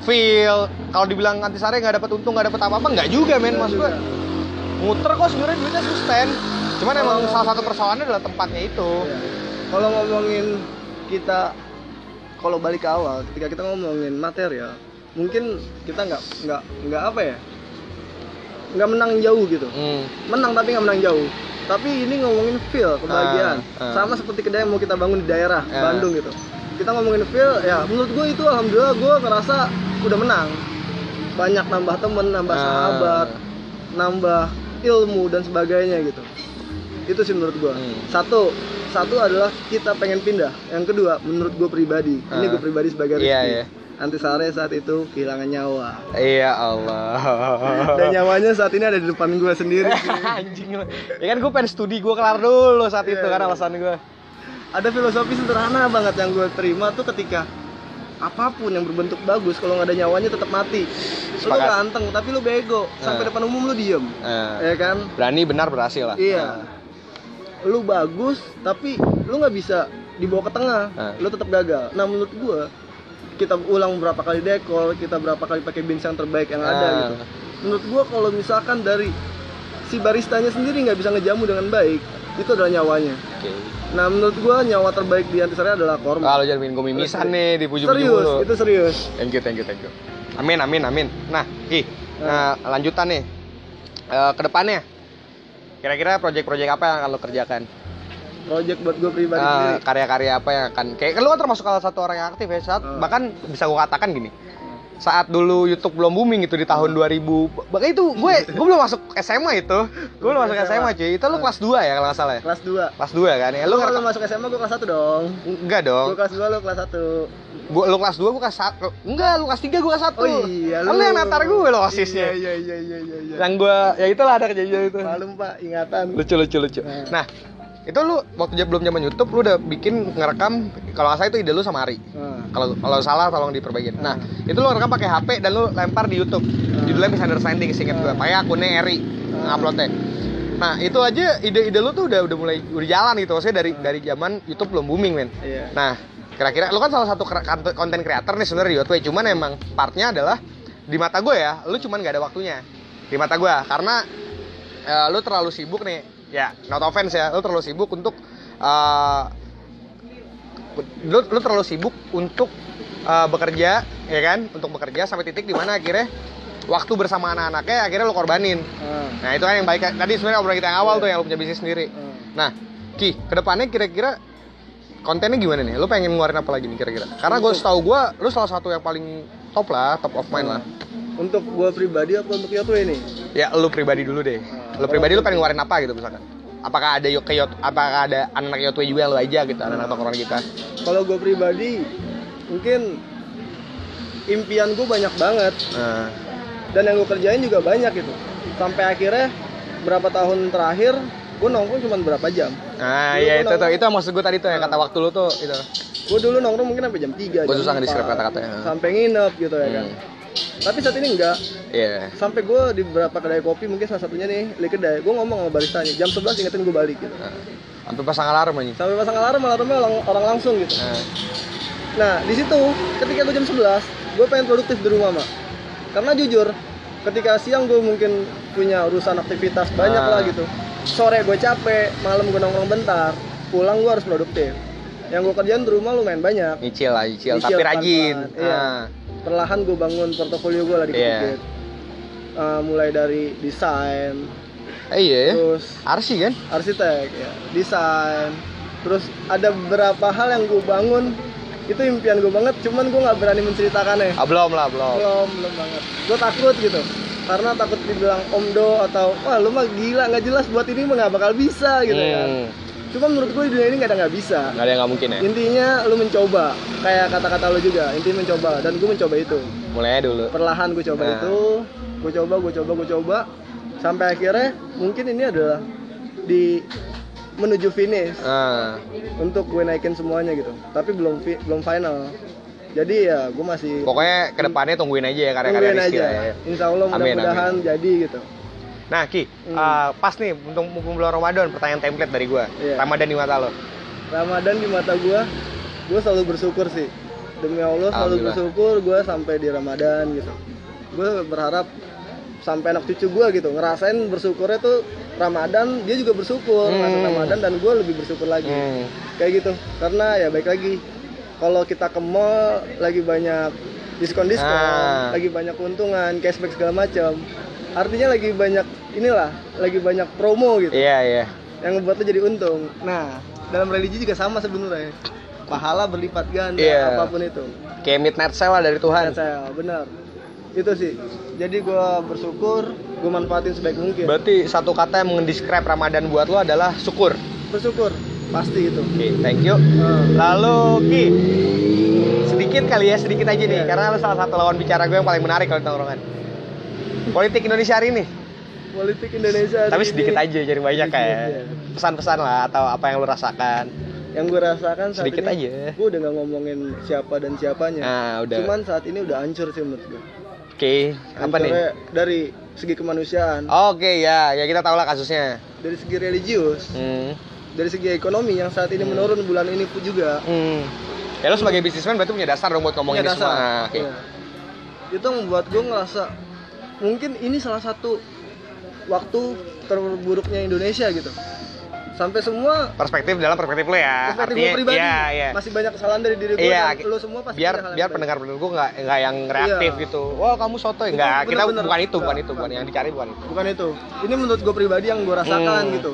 Speaker 1: feel. Kalau dibilang anti sare nggak dapat untung nggak dapat apa-apa nggak juga men maksud gua.
Speaker 2: Iya.
Speaker 1: Muter kok sebenarnya duitnya sustain. Cuman emang
Speaker 2: Oh.
Speaker 1: salah satu persoalannya adalah tempatnya itu.
Speaker 2: Iya. Kalau ngomongin kita kalau balik ke awal ketika kita ngomongin material, mungkin kita nggak nggak nggak apa ya? nggak menang jauh gitu.
Speaker 1: Hmm.
Speaker 2: Menang tapi nggak menang jauh. Tapi ini ngomongin feel kebahagiaan.
Speaker 1: Ah, ah.
Speaker 2: Sama seperti kedai yang mau kita bangun di daerah
Speaker 1: Ah.
Speaker 2: Bandung gitu. Kita ngomongin feel ya menurut gue itu alhamdulillah gue ngerasa udah menang. Banyak nambah temen, nambah
Speaker 1: Ah.
Speaker 2: sahabat, nambah ilmu dan sebagainya gitu itu sih menurut gua
Speaker 1: Hmm.
Speaker 2: satu satu adalah kita pengen pindah yang kedua menurut gua pribadi ini
Speaker 1: Ah.
Speaker 2: gua pribadi sebagai
Speaker 1: Iya,
Speaker 2: Rizky.
Speaker 1: iya.
Speaker 2: Antisare saat itu kehilangan nyawa
Speaker 1: Iya Allah.
Speaker 2: dan nyawanya saat ini ada di depan gua sendiri
Speaker 1: Anjing lu. Ya kan gue pengen studi gue kelar dulu saat itu
Speaker 2: Iya,
Speaker 1: kan
Speaker 2: iya.
Speaker 1: alasan gue.
Speaker 2: ada filosofi sederhana banget yang gue terima tuh ketika apapun yang berbentuk bagus kalau nggak ada nyawanya tetap mati lu
Speaker 1: Sepakat.
Speaker 2: ganteng tapi lu bego
Speaker 1: Nah.
Speaker 2: sampai depan umum lu diem
Speaker 1: Eh,
Speaker 2: ya kan
Speaker 1: berani benar berhasil lah.
Speaker 2: iya lu bagus tapi lu nggak bisa dibawa ke tengah
Speaker 1: Nah.
Speaker 2: lu tetap gagal nah menurut gue kita ulang berapa kali dekol kita berapa kali pakai bins yang terbaik yang ada
Speaker 1: Nah.
Speaker 2: gitu menurut gue kalau misalkan dari si baristanya sendiri nggak bisa ngejamu dengan baik itu adalah nyawanya
Speaker 1: Oke.
Speaker 2: Nah menurut gua nyawa terbaik di antisari adalah korma.
Speaker 1: Kalau jadi gue mimisan nih dipuji-puji
Speaker 2: serius,
Speaker 1: mulu.
Speaker 2: itu serius.
Speaker 1: Thank you, thank you, thank you. Amin, amin, amin. Nah, Ki, nah, lanjutan nih. Eh, kedepannya, kira-kira proyek-proyek apa yang akan lo kerjakan?
Speaker 2: Project buat gua
Speaker 1: Eh,
Speaker 2: pribadi sendiri.
Speaker 1: karya-karya apa yang akan? Kayak lo kan termasuk salah satu orang yang aktif ya. Saat,
Speaker 2: Hmm.
Speaker 1: Bahkan bisa gue katakan gini, saat dulu YouTube belum booming gitu di tahun 2000 bahkan itu gue gue belum masuk SMA itu gue belum masuk SMA cuy itu lo kelas 2 ya kalau nggak salah ya
Speaker 2: Kelas 2
Speaker 1: kelas 2 kan ya lo
Speaker 2: Lu kalau masuk SMA gua kelas 1 dong.
Speaker 1: enggak
Speaker 2: Gua
Speaker 1: dong
Speaker 2: kelas 2 lu kelas 1.
Speaker 1: gua lo kelas 2 gue kelas 1 enggak lo kelas 3 gue kelas 1
Speaker 2: Oh iya
Speaker 1: kan lo yang natar gue lo osisnya
Speaker 2: Iya iya iya iya iya.
Speaker 1: yang gue ya itulah ada kejadian itu
Speaker 2: Malum Pak, ingatan.
Speaker 1: lucu lucu lucu nah itu lu waktu dia belum zaman YouTube lu udah bikin ngerekam kalau nggak salah itu ide lu sama Ari
Speaker 2: Nah,
Speaker 1: kalau kalau salah tolong diperbaiki nah itu lu ngerekam pakai HP dan lu lempar di YouTube judulnya misunderstanding singkat gue pakai akunnya Ari uploadnya nah itu aja ide-ide lu tuh udah udah mulai udah jalan gitu maksudnya dari dari zaman YouTube belum booming men
Speaker 2: Iya.
Speaker 1: Nah, kira-kira lu kan salah satu kre- kant- konten creator nih sebenarnya di Outway, cuman emang partnya adalah di mata gue ya, lu cuman gak ada waktunya. Di mata gue karena eh, lu terlalu sibuk nih. Ya, not offense ya, lu terlalu sibuk untuk eh, lu, lu terlalu sibuk untuk eh, bekerja, ya kan? Untuk bekerja sampai titik dimana akhirnya waktu bersama anak-anaknya akhirnya lu korbanin.
Speaker 2: Ah,
Speaker 1: Nah, itu kan yang baik. Tadi sebenarnya obrolan kita yang awal tuh yang lu punya bisnis sendiri.
Speaker 2: ah.
Speaker 1: Nah, Ki, kedepannya kira-kira kontennya gimana nih? Lu pengen ngeluarin apa lagi nih kira-kira? Karena gue setahu gue, lu salah satu yang paling top lah, top of mind lah.
Speaker 2: Untuk gua pribadi apa untuk Yotwe nih?
Speaker 1: Ya, lu pribadi dulu deh. Lu pribadi lu pengen ngeluarin apa gitu misalkan? Apakah ada yuk ke Yot- apakah ada anak Yotwe juga lu aja gitu,
Speaker 2: Hmm.
Speaker 1: anak-anak tongkrongan kita?
Speaker 2: Kalau gua pribadi mungkin impian gua banyak banget.
Speaker 1: Nah,
Speaker 2: dan yang gue kerjain juga banyak gitu sampai akhirnya berapa tahun terakhir gue nongkrong cuma berapa jam
Speaker 1: nah ya
Speaker 2: Dulu gua
Speaker 1: itu tuh,
Speaker 2: nongkrong-
Speaker 1: itu yang maksud gue tadi tuh yang kata waktu lu tuh itu.
Speaker 2: gue dulu nongkrong mungkin sampai jam 3
Speaker 1: Gua
Speaker 2: jam
Speaker 1: susah nge-describe
Speaker 2: 4,
Speaker 1: kata-katanya.
Speaker 2: sampai nginep gitu ya kan
Speaker 1: Hmm.
Speaker 2: tapi saat ini enggak
Speaker 1: Iya.
Speaker 2: sampai gue di beberapa kedai kopi mungkin salah satunya nih li kedai gue ngomong sama baristanya jam 11 ingetin gue balik gitu
Speaker 1: Nah, Sampai pasang alarm aja.
Speaker 2: sampai pasang alarm alarmnya orang, orang langsung gitu
Speaker 1: Nah,
Speaker 2: nah di situ ketika gue jam 11 gue pengen produktif di rumah mak karena jujur ketika siang gue mungkin punya urusan aktivitas banyak
Speaker 1: Ah.
Speaker 2: lah gitu sore gue capek malam gue nongkrong bentar pulang gue harus produktif yang gue kerjain di rumah lumayan banyak
Speaker 1: nyicil lah, nyicil,
Speaker 2: Nyicil
Speaker 1: tapi rajin.
Speaker 2: pelan-pelan, iya.
Speaker 1: Nah,
Speaker 2: perlahan gue bangun portofolio gue lah
Speaker 1: Iya.
Speaker 2: dikit-dikit Eh, mulai dari desain
Speaker 1: eh, iya ya.
Speaker 2: terus
Speaker 1: Arsi kan?
Speaker 2: arsitek ya desain terus ada beberapa hal yang gue bangun itu impian gue banget cuman gue nggak berani menceritakannya
Speaker 1: Ah, belum lah, belum.
Speaker 2: belum belum banget gue takut gitu karena takut dibilang omdo atau wah lu mah gila nggak jelas buat ini mah nggak bakal bisa gitu kan
Speaker 1: Hmm,
Speaker 2: cuma menurut gue di dunia ini nggak ada nggak bisa
Speaker 1: nggak ada yang nggak mungkin ya.
Speaker 2: intinya lu mencoba kayak kata-kata lu juga intinya mencoba dan gue mencoba itu
Speaker 1: Mulai aja dulu.
Speaker 2: perlahan gue coba
Speaker 1: Nah.
Speaker 2: itu gue coba gue coba gue coba sampai akhirnya mungkin ini adalah di menuju finish
Speaker 1: Ah,
Speaker 2: untuk gue naikin semuanya gitu tapi belum fi- belum final jadi ya gue masih
Speaker 1: pokoknya kedepannya tungguin aja ya karya-karya
Speaker 2: tungguin
Speaker 1: Rizky
Speaker 2: aja
Speaker 1: lah ya.
Speaker 2: insya Allah
Speaker 1: Amin,
Speaker 2: mudah-mudahan jadi gitu
Speaker 1: Nah Ki,
Speaker 2: Hmm.
Speaker 1: eh, pas nih untuk mumpung bulan Ramadan pertanyaan template dari gua.
Speaker 2: Iya.
Speaker 1: Ramadan di mata lo.
Speaker 2: Ramadan di mata gue gue selalu bersyukur sih demi Allah selalu
Speaker 1: Alhamdulillah.
Speaker 2: bersyukur gue sampai di Ramadan gitu gue berharap sampai anak cucu gue gitu ngerasain bersyukurnya tuh Ramadan dia juga bersyukur
Speaker 1: Hmm.
Speaker 2: ngerasain Ramadan dan gue lebih bersyukur lagi
Speaker 1: Hmm.
Speaker 2: kayak gitu karena ya baik lagi kalau kita ke mall lagi banyak diskon diskon
Speaker 1: Ah.
Speaker 2: lagi banyak keuntungan cashback segala macam artinya lagi banyak inilah lagi banyak promo gitu
Speaker 1: Iya iya.
Speaker 2: yang ngebuat lo jadi untung. Nah, dalam religi juga sama sebenarnya. Pahala berlipat ganda
Speaker 1: Iya.
Speaker 2: apapun itu.
Speaker 1: Kayak midnight sale lah dari Tuhan.
Speaker 2: Saya benar. Itu sih. Jadi gua bersyukur gue manfaatin sebaik mungkin
Speaker 1: Berarti satu kata yang mendescribe Ramadan buat lo adalah syukur.
Speaker 2: bersyukur pasti itu
Speaker 1: Oke, thank you.
Speaker 2: Nah,
Speaker 1: Lalu Ki, sedikit kali ya, sedikit aja nih,
Speaker 2: Iya.
Speaker 1: karena lo salah satu lawan bicara gue yang paling menarik kalau di tongkrongan. Politik Indonesia hari ini,
Speaker 2: politik Indonesia hari
Speaker 1: tapi
Speaker 2: ini-
Speaker 1: sedikit aja jadi banyak
Speaker 2: Sedikit,
Speaker 1: kayak
Speaker 2: iya.
Speaker 1: pesan-pesan lah atau apa yang lo rasakan.
Speaker 2: yang gue rasakan saat
Speaker 1: Sedikit
Speaker 2: ini,
Speaker 1: aja.
Speaker 2: gue udah nggak ngomongin siapa dan siapanya
Speaker 1: Nah, udah.
Speaker 2: Iya. cuman saat ini udah hancur sih menurut gue
Speaker 1: Oke, apa nih?
Speaker 2: Hancurnya dari segi kemanusiaan
Speaker 1: Oke, ya, ya kita tahu lah kasusnya.
Speaker 2: dari segi religius
Speaker 1: Hmm.
Speaker 2: dari segi ekonomi yang saat ini menurun bulan ini pun juga
Speaker 1: Hmm. Ya lo sebagai bisnismen berarti punya dasar dong buat ngomongin ini
Speaker 2: Iya, dasar.
Speaker 1: semua. Ah, Oke.
Speaker 2: Iya. Itu yang membuat gue ngerasa mungkin ini salah satu waktu terburuknya Indonesia gitu. Sampai semua
Speaker 1: Perspektif dalam perspektif lo ya.
Speaker 2: perspektif
Speaker 1: Artinya,
Speaker 2: gue pribadi
Speaker 1: Iya, iya.
Speaker 2: masih banyak kesalahan dari diri gue.
Speaker 1: Iya,
Speaker 2: dan lo semua pasti
Speaker 1: biar
Speaker 2: punya hal yang
Speaker 1: biar
Speaker 2: baik.
Speaker 1: pendengar pendengar gue nggak nggak yang reaktif
Speaker 2: Iya.
Speaker 1: gitu wah kamu soto
Speaker 2: Bukan,
Speaker 1: enggak kita
Speaker 2: bener-bener.
Speaker 1: bukan itu bukan itu
Speaker 2: Enggak,
Speaker 1: bukan
Speaker 2: bukan.
Speaker 1: yang dicari bukan itu
Speaker 2: bukan itu. Ini menurut gue pribadi yang gue rasakan
Speaker 1: Hmm.
Speaker 2: gitu.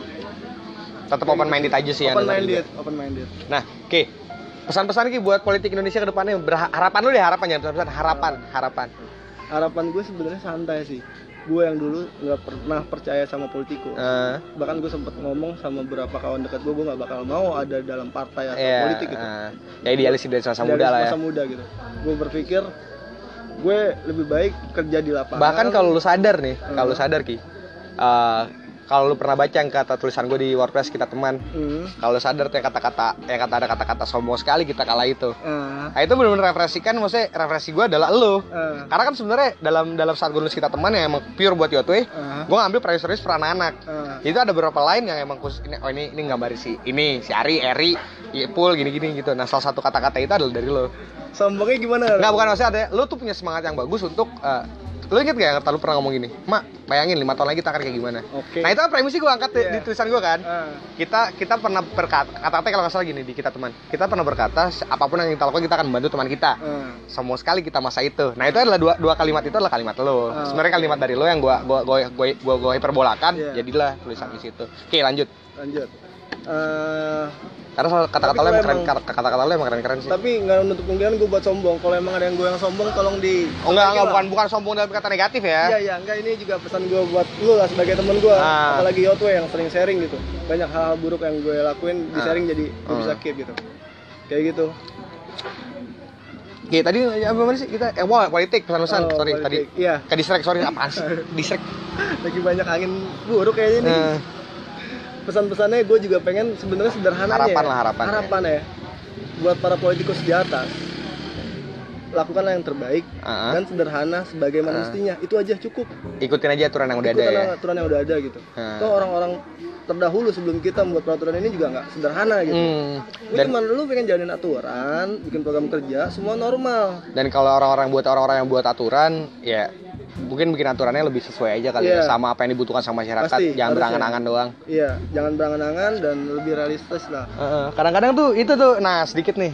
Speaker 1: tetap
Speaker 2: Iya,
Speaker 1: open minded aja sih yang
Speaker 2: Open
Speaker 1: dengerin
Speaker 2: minded,
Speaker 1: juga.
Speaker 2: open minded.
Speaker 1: nah oke pesan-pesan ki buat politik Indonesia ke depannya berha- harapan lu deh harapan ya pesan-pesan harapan harapan
Speaker 2: Harapan gue sebenarnya santai sih. Gue yang dulu nggak pernah percaya sama politiko.
Speaker 1: Eh,
Speaker 2: Bahkan gue sempet ngomong sama beberapa kawan dekat gue, gue nggak bakal mau ada dalam partai atau
Speaker 1: ya,
Speaker 2: politik gitu.
Speaker 1: eh, ya idealis dari masa
Speaker 2: Dari
Speaker 1: muda lah ya
Speaker 2: masa muda gitu gue berpikir gue lebih baik kerja di lapangan
Speaker 1: bahkan kalau lu sadar nih
Speaker 2: Hmm.
Speaker 1: kalau lu sadar ki eh, kalau lu pernah baca yang kata tulisan gue di WordPress kita teman
Speaker 2: Hmm.
Speaker 1: kalau lu sadar tuh yang kata-kata yang kata ada kata-kata sombong sekali kita kalah itu
Speaker 2: Ah,
Speaker 1: Nah itu benar-benar refresikan, maksudnya refresi gue adalah lo.
Speaker 2: ah,
Speaker 1: Karena kan sebenarnya dalam dalam saat gue nulis kita teman yang emang pure buat Yotwe,
Speaker 2: ah,
Speaker 1: gue ngambil peran serius peran anak.
Speaker 2: ah.
Speaker 1: Itu ada beberapa lain yang emang khusus ini, oh ini ini gambar si ini si Ari, Eri, Ipul gini-gini gitu. Nah salah satu kata-kata itu adalah dari lo.
Speaker 2: sombongnya gimana
Speaker 1: Enggak bukan maksudnya ada, lo tuh punya semangat yang bagus untuk eh, lo inget gak yang kata lo pernah ngomong gini, mak bayangin lima tahun lagi kita akan kayak gimana.
Speaker 2: oke
Speaker 1: Nah itu kan premisi gue angkat di,
Speaker 2: Iya.
Speaker 1: di tulisan gue kan
Speaker 2: Ah,
Speaker 1: kita kita pernah berkata kata-kata kalau nggak salah gini di kita teman kita pernah berkata apapun yang kita lakukan kita akan membantu teman kita
Speaker 2: ah.
Speaker 1: sama sekali kita masa itu. Nah itu adalah dua, dua kalimat itu adalah kalimat lo.
Speaker 2: Ah,
Speaker 1: Sebenarnya kalimat dari lo yang gua gua gua gua, gua, gua hiperbolakan
Speaker 2: Iya.
Speaker 1: jadilah tulisan di situ. Oke lanjut.
Speaker 2: lanjut Ah,
Speaker 1: Karena soal kata-kata
Speaker 2: Tapi
Speaker 1: lo emang
Speaker 2: kalau
Speaker 1: keren,
Speaker 2: emang-
Speaker 1: kata-kata lo emang keren-keren sih.
Speaker 2: tapi nggak menutup kemungkinan gue buat sombong kalau emang ada yang gue yang sombong tolong di
Speaker 1: Oh enggak, enggak
Speaker 2: lah.
Speaker 1: bukan bukan sombong dalam kata negatif ya.
Speaker 2: Iya iya enggak ini juga pesan gue buat lu lah sebagai temen gue
Speaker 1: Ah.
Speaker 2: apalagi Yotwe yang sering sharing gitu banyak hal, buruk yang gue lakuin di
Speaker 1: Ah.
Speaker 2: sharing jadi gue
Speaker 1: Ah.
Speaker 2: bisa keep gitu kayak gitu
Speaker 1: Oke, tadi ya, apa sih kita eh wah politik pesan-pesan
Speaker 2: Oh,
Speaker 1: sorry
Speaker 2: politik.
Speaker 1: tadi.
Speaker 2: iya
Speaker 1: Ke distract sorry apaan sih? Distract.
Speaker 2: lagi banyak angin buruk kayaknya nih
Speaker 1: Eh,
Speaker 2: pesan-pesannya gue juga pengen sebenarnya sederhana
Speaker 1: Harapan
Speaker 2: ya.
Speaker 1: lah, harapan ya.
Speaker 2: harapan ya. buat para politikus di atas lakukanlah yang terbaik
Speaker 1: Ah.
Speaker 2: dan sederhana sebagaimana
Speaker 1: Ah.
Speaker 2: mestinya itu aja cukup
Speaker 1: ikutin aja aturan yang udah ada
Speaker 2: ikutan
Speaker 1: ya.
Speaker 2: aturan yang udah ada gitu
Speaker 1: Ah.
Speaker 2: Toh orang-orang terdahulu sebelum kita membuat peraturan ini juga nggak sederhana gitu
Speaker 1: Hmm.
Speaker 2: Lu
Speaker 1: Dan
Speaker 2: cuman lu pengen jalanin aturan, bikin program kerja, semua normal.
Speaker 1: dan kalau orang-orang buat orang-orang yang buat aturan ya mungkin bikin aturannya lebih sesuai aja kali ya
Speaker 2: Iya.
Speaker 1: sama apa yang dibutuhkan sama masyarakat
Speaker 2: Pasti,
Speaker 1: jangan
Speaker 2: harusnya.
Speaker 1: berangan-angan doang
Speaker 2: Iya, jangan berangan-angan dan lebih realistis lah.
Speaker 1: Heeh, kadang-kadang tuh itu tuh nah sedikit nih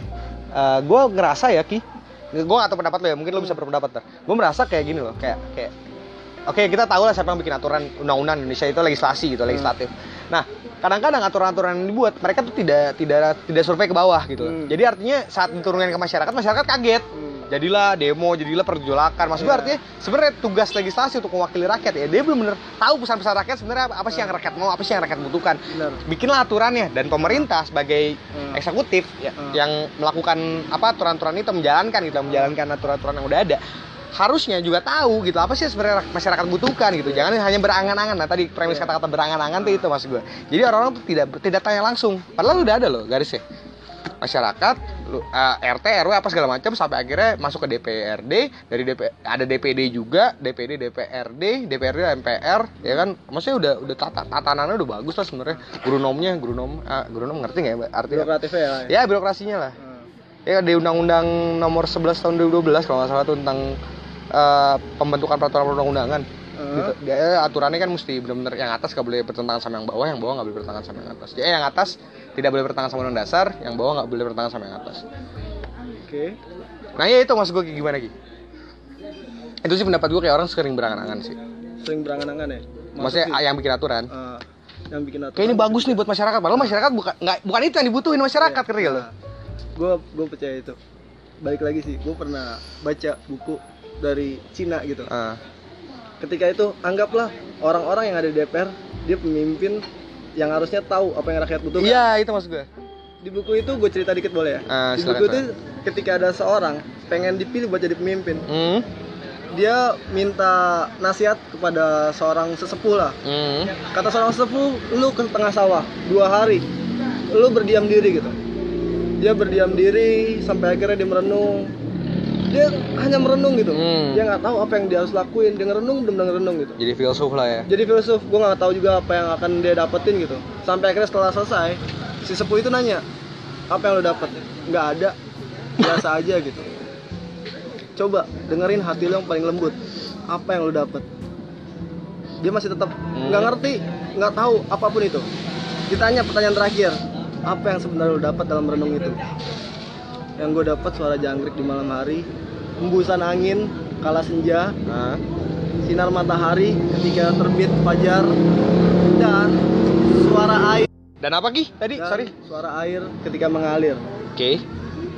Speaker 1: gue ngerasa ya ki gue gak tau pendapat lo ya mungkin lo bisa berpendapat gue merasa kayak gini loh kayak kayak oke kita tahu lah siapa yang bikin aturan undang-undang Indonesia itu legislasi gitu legislatif
Speaker 2: Hmm.
Speaker 1: nah kadang-kadang aturan-aturan yang dibuat mereka tuh tidak tidak tidak survei ke bawah gitu loh.
Speaker 2: Hmm.
Speaker 1: jadi artinya saat diturunkan ke masyarakat masyarakat kaget
Speaker 2: Hmm.
Speaker 1: jadilah demo jadilah pergolakan maksud gue
Speaker 2: Iya.
Speaker 1: artinya sebenarnya tugas legislasi untuk mewakili rakyat ya dia belum bener tahu pesan-pesan rakyat sebenarnya apa, apa sih yang rakyat mau apa sih yang rakyat butuhkan
Speaker 2: Benar.
Speaker 1: bikinlah aturannya dan pemerintah sebagai
Speaker 2: Hmm.
Speaker 1: eksekutif ya,
Speaker 2: Hmm.
Speaker 1: yang melakukan apa aturan-aturan itu menjalankan gitu menjalankan aturan-aturan yang udah ada harusnya juga tahu gitu apa sih sebenarnya rak- masyarakat butuhkan gitu jangan hanya berangan-angan nah tadi premis
Speaker 2: Iya.
Speaker 1: kata-kata berangan-angan tuh itu maksud gue jadi orang-orang tuh tidak tidak tanya langsung padahal udah ada loh garisnya masyarakat lu- eh, RT RW apa segala macam sampai akhirnya masuk ke DPRD dari DP, ada DPD juga DPD DPRD DPRD MPR ya kan maksudnya udah udah tata, tatanannya udah bagus lah sebenarnya guru nomnya guru nom ah, guru nom ngerti nggak ya artinya
Speaker 2: Birokratifnya ya. Nah,
Speaker 1: ya birokrasinya lah ya di undang-undang nomor 11 tahun 2012 kalau nggak salah tuh tentang eh, pembentukan peraturan perundang-undangan gitu. Dia- aturannya kan mesti benar-benar yang atas gak boleh bertentangan sama yang bawah yang bawah nggak boleh bertentangan sama yang atas jadi eh, yang atas tidak boleh bertentangan sama undang dasar yang bawah nggak boleh bertentangan sama yang atas
Speaker 2: Oke.
Speaker 1: nah ya itu maksud gue kayak gimana Ki itu sih pendapat gue kayak orang sering berangan-angan sih
Speaker 2: Sering berangan-angan ya. Masuk
Speaker 1: maksudnya
Speaker 2: sih.
Speaker 1: yang bikin aturan
Speaker 2: Ah, yang bikin aturan.
Speaker 1: kayak ini bagus nih buat masyarakat padahal masyarakat bukan nggak bukan itu yang dibutuhin masyarakat
Speaker 2: Iya.
Speaker 1: ngerti gak lo
Speaker 2: Gue gue Nah, percaya itu. Balik lagi sih, gue pernah baca buku dari Cina gitu.
Speaker 1: Ah,
Speaker 2: ketika itu anggaplah orang-orang yang ada di DPR dia pemimpin yang harusnya tahu apa yang rakyat butuhkan
Speaker 1: Iya, itu maksud gue.
Speaker 2: di buku itu gue cerita dikit boleh ya
Speaker 1: Ah,
Speaker 2: di
Speaker 1: silakan,
Speaker 2: buku itu ketika ada seorang pengen dipilih buat jadi pemimpin
Speaker 1: Hmm.
Speaker 2: dia minta nasihat kepada seorang sesepuh lah
Speaker 1: Hmm.
Speaker 2: kata seorang sepuh lu ke tengah sawah dua hari lu berdiam diri gitu dia berdiam diri sampai akhirnya dia merenung dia hanya merenung gitu
Speaker 1: Hmm.
Speaker 2: dia nggak tahu apa yang dia harus lakuin dia ngerenung belum ngerenung gitu
Speaker 1: Jadi filsuf lah ya.
Speaker 2: jadi filsuf gue nggak tahu juga apa yang akan dia dapetin gitu sampai akhirnya setelah selesai si sepuh itu nanya apa yang lo dapet nggak ada biasa aja gitu coba dengerin hati lo yang paling lembut apa yang lo dapet dia masih tetap nggak ngerti nggak tahu apapun itu ditanya pertanyaan terakhir apa yang sebenarnya lo dapat dalam renung itu yang gue dapat suara jangkrik di malam hari hembusan angin kala senja
Speaker 1: Nah.
Speaker 2: sinar matahari ketika terbit fajar dan suara air
Speaker 1: Dan apa Ki? Tadi,
Speaker 2: dan
Speaker 1: sorry.
Speaker 2: suara air ketika mengalir
Speaker 1: Oke.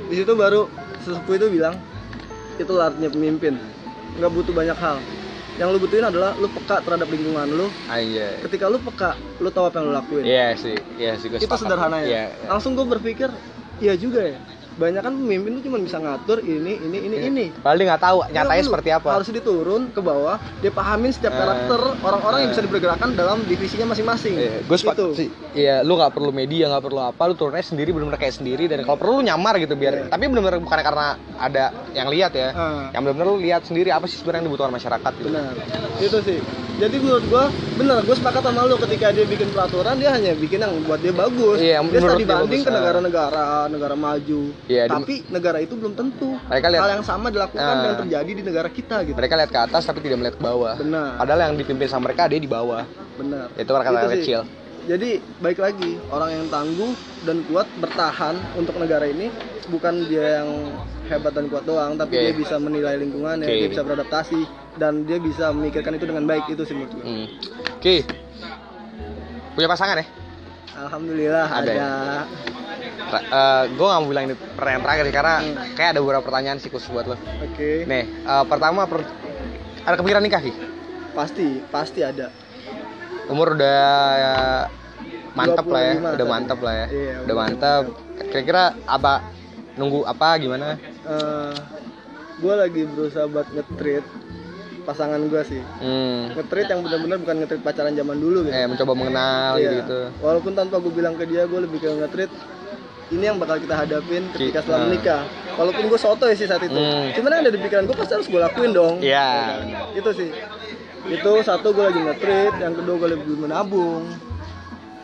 Speaker 2: di situ baru sesepuh itu bilang itu artinya pemimpin nggak butuh banyak hal yang lu butuhin adalah lu peka terhadap lingkungan lu
Speaker 1: Anjay.
Speaker 2: ketika lu peka lu tahu apa yang lu lakuin
Speaker 1: Iya sih, iya sih gue
Speaker 2: itu
Speaker 1: sepakat.
Speaker 2: sederhananya
Speaker 1: Iya, iya.
Speaker 2: langsung gue berpikir iya juga ya banyak kan pemimpin tuh cuma bisa ngatur ini ini ini ini
Speaker 1: Padahal dia nggak tahu nyatanya
Speaker 2: Dulu
Speaker 1: seperti apa.
Speaker 2: Iya, harus diturun ke bawah dia pahamin
Speaker 1: Eh.
Speaker 2: setiap karakter orang-orang yang
Speaker 1: Eh.
Speaker 2: bisa dipergerakan dalam divisinya masing-masing
Speaker 1: Iya, gue sepakat
Speaker 2: Gitu.
Speaker 1: sih. Iya, lu nggak perlu media, nggak perlu apa, lu turunnya sendiri benar-benar kayak sendiri dan kalau perlu lu nyamar gitu biar.
Speaker 2: Iya.
Speaker 1: Tapi benar-benar bukan karena ada yang lihat ya.
Speaker 2: Ah,
Speaker 1: Yang benar-benar lu lihat sendiri apa sih sebenarnya yang dibutuhkan masyarakat gitu.
Speaker 2: benar itu sih jadi menurut gua benar gue sepakat sama lu ketika dia bikin peraturan dia hanya bikin yang buat dia bagus
Speaker 1: Iya,
Speaker 2: dia
Speaker 1: menurut
Speaker 2: tadi
Speaker 1: dia
Speaker 2: banding
Speaker 1: bagus.
Speaker 2: ke negara-negara negara maju
Speaker 1: Iya, di-
Speaker 2: tapi negara itu belum tentu
Speaker 1: Mereka lihat
Speaker 2: hal yang sama dilakukan
Speaker 1: Ah.
Speaker 2: dan terjadi di negara kita gitu
Speaker 1: mereka lihat ke atas tapi tidak melihat ke bawah.
Speaker 2: benar
Speaker 1: Padahal yang dipimpin sama mereka dia di bawah.
Speaker 2: benar
Speaker 1: Itu kata-kata
Speaker 2: Itu Gitu sih.
Speaker 1: kecil.
Speaker 2: Jadi baik lagi orang yang tangguh dan kuat bertahan untuk negara ini bukan dia yang hebat dan kuat doang, tapi
Speaker 1: Oke.
Speaker 2: dia bisa menilai lingkungannya,
Speaker 1: Oke.
Speaker 2: dia bisa beradaptasi dan dia bisa memikirkan itu dengan baik itu sih menurut gue.
Speaker 1: Hmm. Oke. Punya pasangan ya?
Speaker 2: Alhamdulillah
Speaker 1: Ada
Speaker 2: ada.
Speaker 1: ya? gue gak eh, mau bilang ini pertanyaan terakhir sih, karena
Speaker 2: Hmm.
Speaker 1: kayak ada beberapa pertanyaan sih khusus buat lo.
Speaker 2: Oke.
Speaker 1: Nih, eh, pertama per- ada kepikiran nikah Ki?
Speaker 2: Pasti, pasti ada.
Speaker 1: Umur udah ya, mantep lah ya,
Speaker 2: 25
Speaker 1: udah
Speaker 2: tadi.
Speaker 1: mantep lah ya,
Speaker 2: Iya,
Speaker 1: udah
Speaker 2: udah
Speaker 1: mantep. Kira-kira apa nunggu apa gimana?
Speaker 2: Eh gue lagi berusaha buat ngetrit pasangan gue sih.
Speaker 1: Hmm,
Speaker 2: Ngetrit yang benar-benar bukan ngetrit pacaran zaman dulu gitu.
Speaker 1: eh mencoba mengenal
Speaker 2: Iya.
Speaker 1: gitu.
Speaker 2: Walaupun tanpa gue bilang ke dia, gue lebih ke nge-treat ini yang bakal kita hadapin ketika
Speaker 1: Ki-
Speaker 2: setelah
Speaker 1: ah.
Speaker 2: menikah. Walaupun gue sotoy sih saat itu,
Speaker 1: Hmm.
Speaker 2: cuman yang ada di pikiran gue pasti harus gue lakuin dong.
Speaker 1: Iya.
Speaker 2: Itu sih. Itu satu gue lagi nge-treat, yang kedua gue lebih menabung,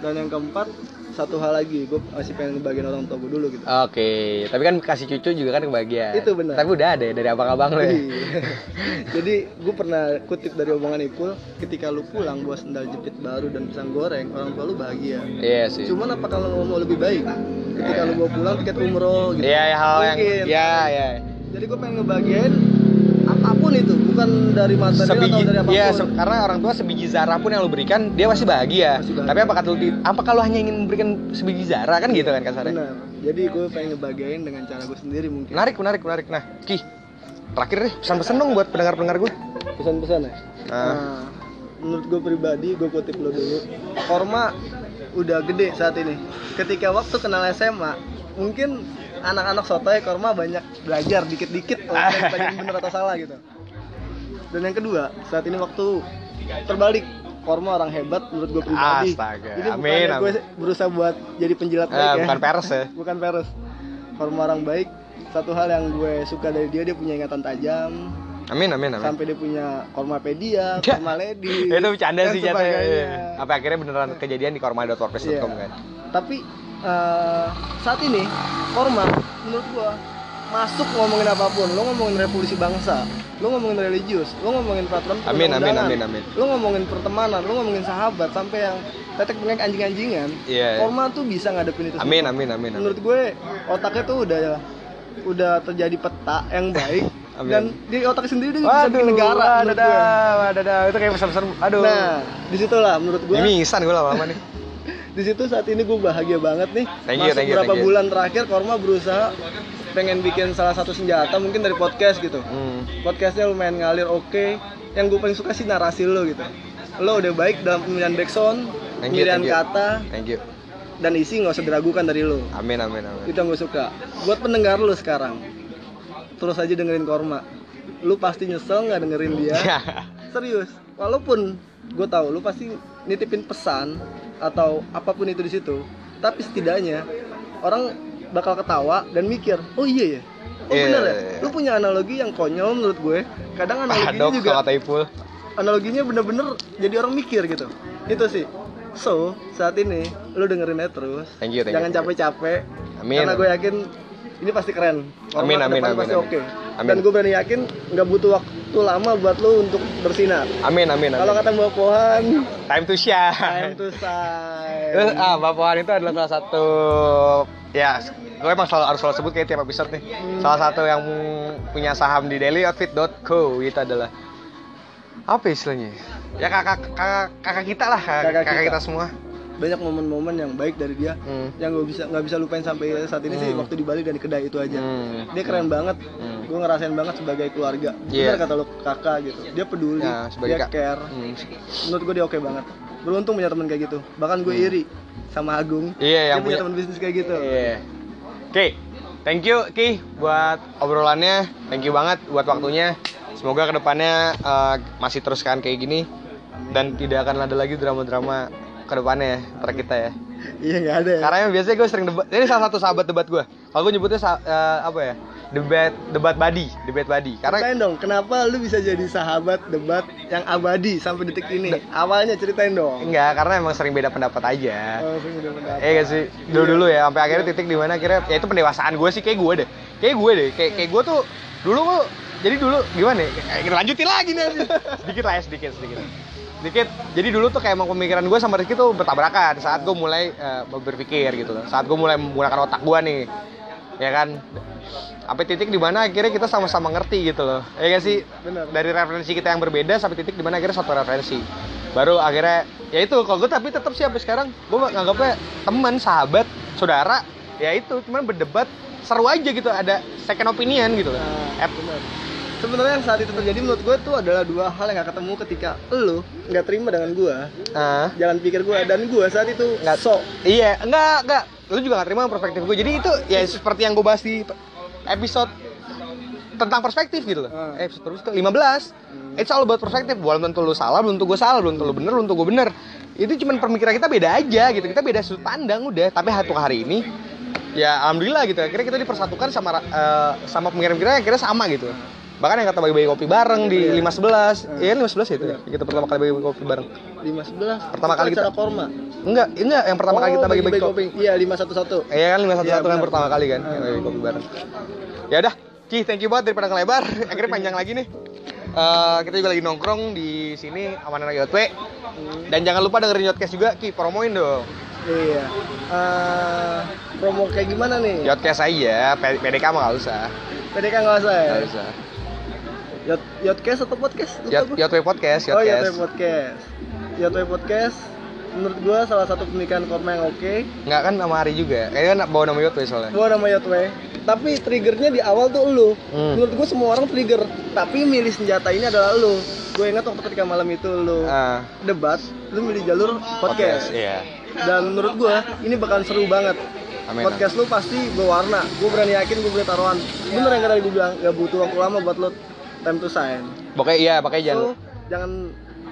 Speaker 2: dan yang keempat satu hal lagi gue masih pengen ngebagiin orang tua gue dulu gitu.
Speaker 1: Oke, tapi kan kasih cucu juga kan kebahagiaan.
Speaker 2: Itu benar. Iya.
Speaker 1: Tapi udah ada ya dari abang-abang lo ya.
Speaker 2: Jadi, jadi gue pernah kutip dari omongan Ipul, ketika lu pulang bawa sendal jepit baru dan pisang goreng, orang tua lu bahagia.
Speaker 1: Iya sih.
Speaker 2: Cuman apa kalau lo mau lebih baik ketika lo mau pulang tiket umroh gitu.
Speaker 1: Iya, ya, hal yang
Speaker 2: Mungkin.
Speaker 1: ya ya.
Speaker 2: Jadi gue pengen ngebagiain apapun itu, bukan dari material atau
Speaker 1: Sebiji,
Speaker 2: dari apapun.
Speaker 1: iya, se- karena orang tua sebiji zarah pun yang lu berikan dia pasti bahagia.
Speaker 2: Pasti bahagia.
Speaker 1: Tapi apakah lu di- apakah lu hanya ingin memberikan sebiji zarah kan gitu kan kasarnya?
Speaker 2: Benar. Jadi gue pengen ngebagiain dengan cara gue sendiri mungkin.
Speaker 1: Menarik, menarik, menarik. Nah, Ki, terakhir deh pesan-pesan dong buat pendengar-pendengar gue.
Speaker 2: Pesan-pesan
Speaker 1: Ah.
Speaker 2: ya. Nah, menurut gue pribadi, gue kutip lo dulu. Korma udah gede saat ini. Ketika waktu kenal SMA, mungkin anak-anak sotoy korma banyak belajar dikit-dikit lah, pengen bener atau salah gitu. Dan yang kedua, saat ini waktu terbalik korma orang hebat menurut gue pribadi.
Speaker 1: Astaga,
Speaker 2: Jadi
Speaker 1: amin,
Speaker 2: bukannya
Speaker 1: amin.
Speaker 2: gue berusaha buat jadi penjilat baik
Speaker 1: Eh,
Speaker 2: ya.
Speaker 1: bukan pers ya.
Speaker 2: Bukan peres. Korma orang baik. Satu hal yang gue suka dari dia, dia punya ingatan tajam,
Speaker 1: Amin, amin, amin.
Speaker 2: sampai dia punya Kormapedia,
Speaker 1: Ya.
Speaker 2: Kormaledi.
Speaker 1: Nah, kan? itu bercanda
Speaker 2: dan
Speaker 1: sih jatuh.
Speaker 2: sebagainya.
Speaker 1: Apa akhirnya beneran kejadian di korma.wordpress.com
Speaker 2: Iya.
Speaker 1: kan?
Speaker 2: Tapi eh, saat ini Korma menurut gua masuk ngomongin apapun, lo ngomongin revolusi bangsa, lo ngomongin religius, lo ngomongin peraturan
Speaker 1: Amin, amin,
Speaker 2: perundang-undangan,
Speaker 1: amin, amin.
Speaker 2: lo ngomongin pertemanan, lo ngomongin sahabat sampai yang tetek bengek anjing-anjingan,
Speaker 1: Iya. iya.
Speaker 2: Korma tuh bisa ngadepin itu. semua.
Speaker 1: Amin, amin, amin, amin.
Speaker 2: Menurut gue otaknya tuh udah udah terjadi peta yang baik
Speaker 1: Amin.
Speaker 2: dan di otak sendiri dia bisa bikin negara menurut
Speaker 1: wadadah,
Speaker 2: gue.
Speaker 1: wadadah. Itu kayak pesan-pesan. Aduh.
Speaker 2: Nah, disitulah menurut gue.
Speaker 1: Ini insan gue lama-lama nih.
Speaker 2: Di situ saat ini gue bahagia banget nih.
Speaker 1: Thank you,
Speaker 2: Masuk
Speaker 1: thank you,
Speaker 2: berapa
Speaker 1: thank you.
Speaker 2: bulan terakhir Korma berusaha pengen bikin salah satu senjata mungkin dari podcast gitu.
Speaker 1: Hmm.
Speaker 2: Podcastnya lumayan ngalir oke. yang gue paling suka sih narasi lo gitu lo udah baik dalam pemilihan backsound
Speaker 1: Thank you,
Speaker 2: pemilihan
Speaker 1: thank you.
Speaker 2: kata
Speaker 1: Thank you.
Speaker 2: dan isi nggak usah diragukan dari lo
Speaker 1: Amin amin amin.
Speaker 2: itu yang gue suka buat pendengar lo sekarang terus aja dengerin korma lu pasti nyesel nggak dengerin dia serius walaupun gue tahu lu pasti nitipin pesan atau apapun itu di situ tapi setidaknya orang bakal ketawa dan mikir oh iya ya oh
Speaker 1: Iya,
Speaker 2: bener ya
Speaker 1: iya, Ah, iya.
Speaker 2: lu punya analogi yang konyol menurut gue kadang analoginya
Speaker 1: Padok
Speaker 2: juga
Speaker 1: sama Taipul.
Speaker 2: analoginya bener-bener jadi orang mikir gitu itu sih so saat ini lu dengerin aja terus
Speaker 1: Thank you, thank you,
Speaker 2: jangan
Speaker 1: thank you.
Speaker 2: capek-capek
Speaker 1: Amin.
Speaker 2: karena gue yakin ini pasti keren Orang
Speaker 1: Amin,
Speaker 2: ke
Speaker 1: amin,
Speaker 2: depan
Speaker 1: amin,
Speaker 2: pasti
Speaker 1: amin.
Speaker 2: oke
Speaker 1: Amin.
Speaker 2: dan gue berani yakin nggak butuh waktu lama buat lu untuk bersinar
Speaker 1: Amin amin
Speaker 2: kalau
Speaker 1: amin.
Speaker 2: kata Mbak Pohan,
Speaker 1: Time to shine.
Speaker 2: time to
Speaker 1: Terus
Speaker 2: shine.
Speaker 1: ah, Bapuan itu adalah salah satu ya gue emang selalu harus selalu sebut kayak tiap episode nih. Salah satu yang punya saham di dailyoutfit.co itu adalah apa istilahnya? Ya kakak kakak, kakak kita lah, kakak,
Speaker 2: Kakak
Speaker 1: kakak
Speaker 2: kita.
Speaker 1: kita. semua.
Speaker 2: Banyak momen-momen yang baik dari dia
Speaker 1: Hmm.
Speaker 2: yang gue bisa nggak bisa lupain sampai saat ini sih
Speaker 1: Hmm.
Speaker 2: waktu di Bali dan di kedai itu aja.
Speaker 1: Hmm.
Speaker 2: Dia keren banget.
Speaker 1: Hmm.
Speaker 2: Gue ngerasain banget sebagai keluarga.
Speaker 1: Iya.
Speaker 2: Bener kata lu kakak gitu. Dia peduli,
Speaker 1: Ya, sebagai
Speaker 2: dia
Speaker 1: kak-
Speaker 2: care.
Speaker 1: Hmm.
Speaker 2: Menurut gue dia oke banget. Beruntung punya teman kayak gitu. Bahkan gue iri sama Agung.
Speaker 1: Hmm. Iya, yang
Speaker 2: dia punya
Speaker 1: punya-
Speaker 2: teman bisnis kayak gitu.
Speaker 1: Iya. Oke, thank you Ki buat obrolannya. Thank you banget buat waktunya. Semoga kedepannya eh, masih teruskan kayak gini dan tidak akan ada lagi drama-drama kedepannya ya, antara kita ya.
Speaker 2: Iya nggak ada ya.
Speaker 1: Karena yang biasanya gue sering debat. Ini salah satu sahabat debat gue. Kalau gue nyebutnya sa- eh, apa ya? Debat debat body, debat body. Karena
Speaker 2: Ceritain dong, kenapa lu bisa jadi sahabat debat yang abadi sampai detik ini? Awalnya ceritain dong.
Speaker 1: enggak, karena emang sering beda pendapat aja.
Speaker 2: Oh, sering udah mendapat.
Speaker 1: Iya gak sih? Dulu dulu ya, sampai akhirnya titik di mana akhirnya ya itu pendewasaan gue sih kayak gue deh. Kayak gue deh, kayak kayak gue tuh dulu gue jadi dulu gimana ya? Kayak Kita lanjutin lagi nih. anjing. Sedikit lah ya, sedikit, sedikit. Sedikit. Jadi dulu tuh kayak emang pemikiran gue sama Rizky tuh bertabrakan saat gue mulai eh, berpikir gitu. loh. Saat gue mulai menggunakan otak gue nih. Ya kan? Sampai titik di mana akhirnya kita sama-sama ngerti gitu loh. Ya gak sih?
Speaker 2: Bener.
Speaker 1: Dari referensi kita yang berbeda sampai titik di mana akhirnya satu referensi. Baru akhirnya ya itu kalau gue tapi tetap sih sampai sekarang gue nganggapnya teman, sahabat, saudara ya itu cuman berdebat seru aja gitu ada second opinion gitu loh.
Speaker 2: Nah,
Speaker 1: At-
Speaker 2: bener. Sebenarnya yang saat itu terjadi menurut gue itu adalah dua hal yang gak ketemu ketika lu nggak terima dengan gue,
Speaker 1: Ah.
Speaker 2: jalan pikir gue dan gue saat itu nggak sok.
Speaker 1: Iya, enggak, enggak. Lu juga gak terima perspektif gue. Jadi itu ya seperti yang gue bahas di episode tentang perspektif gitu loh.
Speaker 2: Hmm.
Speaker 1: Eh, Episode perspektif 15. It's all about perspektif. Belum tentu lu salah, belum tentu gue salah, belum tentu lu bener, belum tentu gue bener. Itu cuman pemikiran kita beda aja gitu. Kita beda sudut pandang udah. Tapi satu hari ini ya alhamdulillah gitu. Akhirnya kita dipersatukan sama eh, sama pemikiran-pemikiran yang akhirnya sama gitu. Bahkan yang kata bagi-bagi kopi bareng di 511. Iya, 511 ya itu. ya? Kita pertama kali bagi kopi bareng.
Speaker 2: Lima sebelas.
Speaker 1: Pertama kali
Speaker 2: acara
Speaker 1: kita-
Speaker 2: korma.
Speaker 1: Enggak, enggak yang pertama
Speaker 2: Oh,
Speaker 1: kali kita bagi-bagi kopi.
Speaker 2: Iya lima satu satu.
Speaker 1: Iya kan 511
Speaker 2: Iya,
Speaker 1: kan
Speaker 2: benar.
Speaker 1: pertama kali kan yang lagi kopi bareng. Ya udah, Ki, thank you banget daripada ngelebar. Akhirnya panjang lagi nih. Eh, kita juga lagi nongkrong di sini Amanah Yotwe. Dan jangan lupa dengerin Yotcast juga, Ki, promoin dong.
Speaker 2: Iya. Eh, promo kayak gimana nih?
Speaker 1: Yotcast aja, P- PDK mah nggak usah.
Speaker 2: PDK nggak usah ya.
Speaker 1: Nggak usah.
Speaker 2: Yot Yotcast atau podcast? Lupa
Speaker 1: Yot,
Speaker 2: gua.
Speaker 1: Yotwe Podcast,
Speaker 2: Oh Yotwe
Speaker 1: Yotcast.
Speaker 2: podcast. Yotwe podcast. Menurut gue salah satu pernikahan korma yang oke.
Speaker 1: Nggak kan sama Ari juga. Kayaknya nak bawa nama Yotwe soalnya.
Speaker 2: gua nama Yotwe tapi triggernya di awal tuh lu
Speaker 1: Hmm.
Speaker 2: menurut gua semua orang trigger tapi milih senjata ini adalah lu gue ingat waktu ketika malam itu lu
Speaker 1: Ah,
Speaker 2: debat lu milih jalur podcast,
Speaker 1: Iya.
Speaker 2: dan menurut gua ini bakal seru banget
Speaker 1: Amin.
Speaker 2: podcast lu pasti berwarna gue berani yakin gue boleh taruhan bener yang tadi gue bilang gak butuh waktu lama buat lu time to sign
Speaker 1: Pokoknya iya, pakai
Speaker 2: lu
Speaker 1: jangan.
Speaker 2: jangan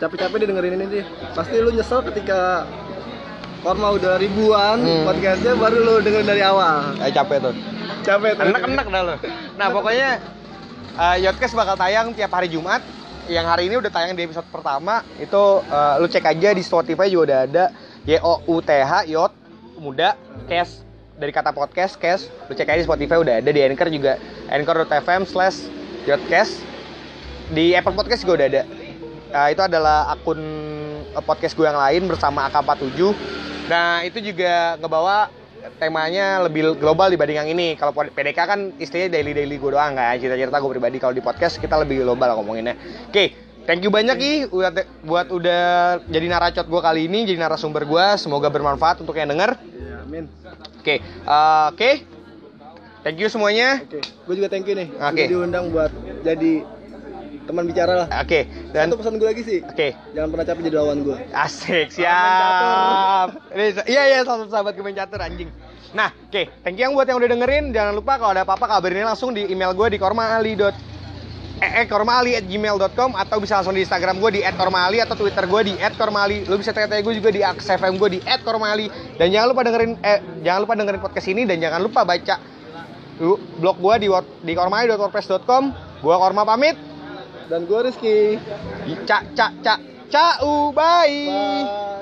Speaker 2: capek-capek deh dengerin ini deh pasti lu nyesel ketika Korma udah ribuan
Speaker 1: Hmm.
Speaker 2: podcastnya baru lu dengerin dari awal
Speaker 1: Eh, capek tuh.
Speaker 2: capek tuh.
Speaker 1: enak-enak dah lo. Nah pokoknya eh, Yodcast bakal tayang tiap hari Jumat. Yang hari ini udah tayang di episode pertama itu eh, lu cek aja di Spotify juga udah ada Y O U T H Yot Muda Cast dari kata podcast Cast. Lu cek aja di Spotify udah ada di Anchor juga anchor.fm slash Yodcast di Apple Podcast juga udah ada. Nah, itu adalah akun eh, podcast gue yang lain bersama AK47. Nah, itu juga ngebawa temanya lebih global dibanding yang ini. Kalau pod- PDK kan istilahnya daily-daily gue doang kan, cerita-cerita gue pribadi. Kalau di podcast kita lebih global ngomonginnya. Oke, thank you banyak Ki buat, buat udah jadi naracot gue kali ini, jadi narasumber gue. Semoga bermanfaat untuk yang denger.
Speaker 2: Iya, amin.
Speaker 1: Oke, eh, oke. Thank you semuanya.
Speaker 2: Oke, gue juga thank you nih.
Speaker 1: Oke.
Speaker 2: Udah diundang buat jadi teman bicara lah
Speaker 1: Oke, dan
Speaker 2: satu pesan gue lagi sih
Speaker 1: oke.
Speaker 2: jangan pernah capek jadi lawan gue
Speaker 1: Asik,
Speaker 2: Salam
Speaker 1: siap. Ini- Iya iya salam sahabat kemen catur anjing. Nah, oke, thank you yang buat yang udah dengerin. Jangan lupa kalau ada apa-apa kabarin langsung di email gue di kormaali. dot- Eh, eh, kormaali@gmail.com atau bisa langsung di Instagram gue di @kormaali atau Twitter gue di @kormaali. Lo bisa tanya-tanya gue juga di @fm gue di @kormaali. Dan jangan lupa dengerin eh jangan lupa dengerin podcast ini dan jangan lupa baca lu- blog gue di word- di kormaali.wordpress.com. Gua Korma pamit.
Speaker 2: dan gue Rizky
Speaker 1: Cak cak cak cau bye.
Speaker 2: Bye.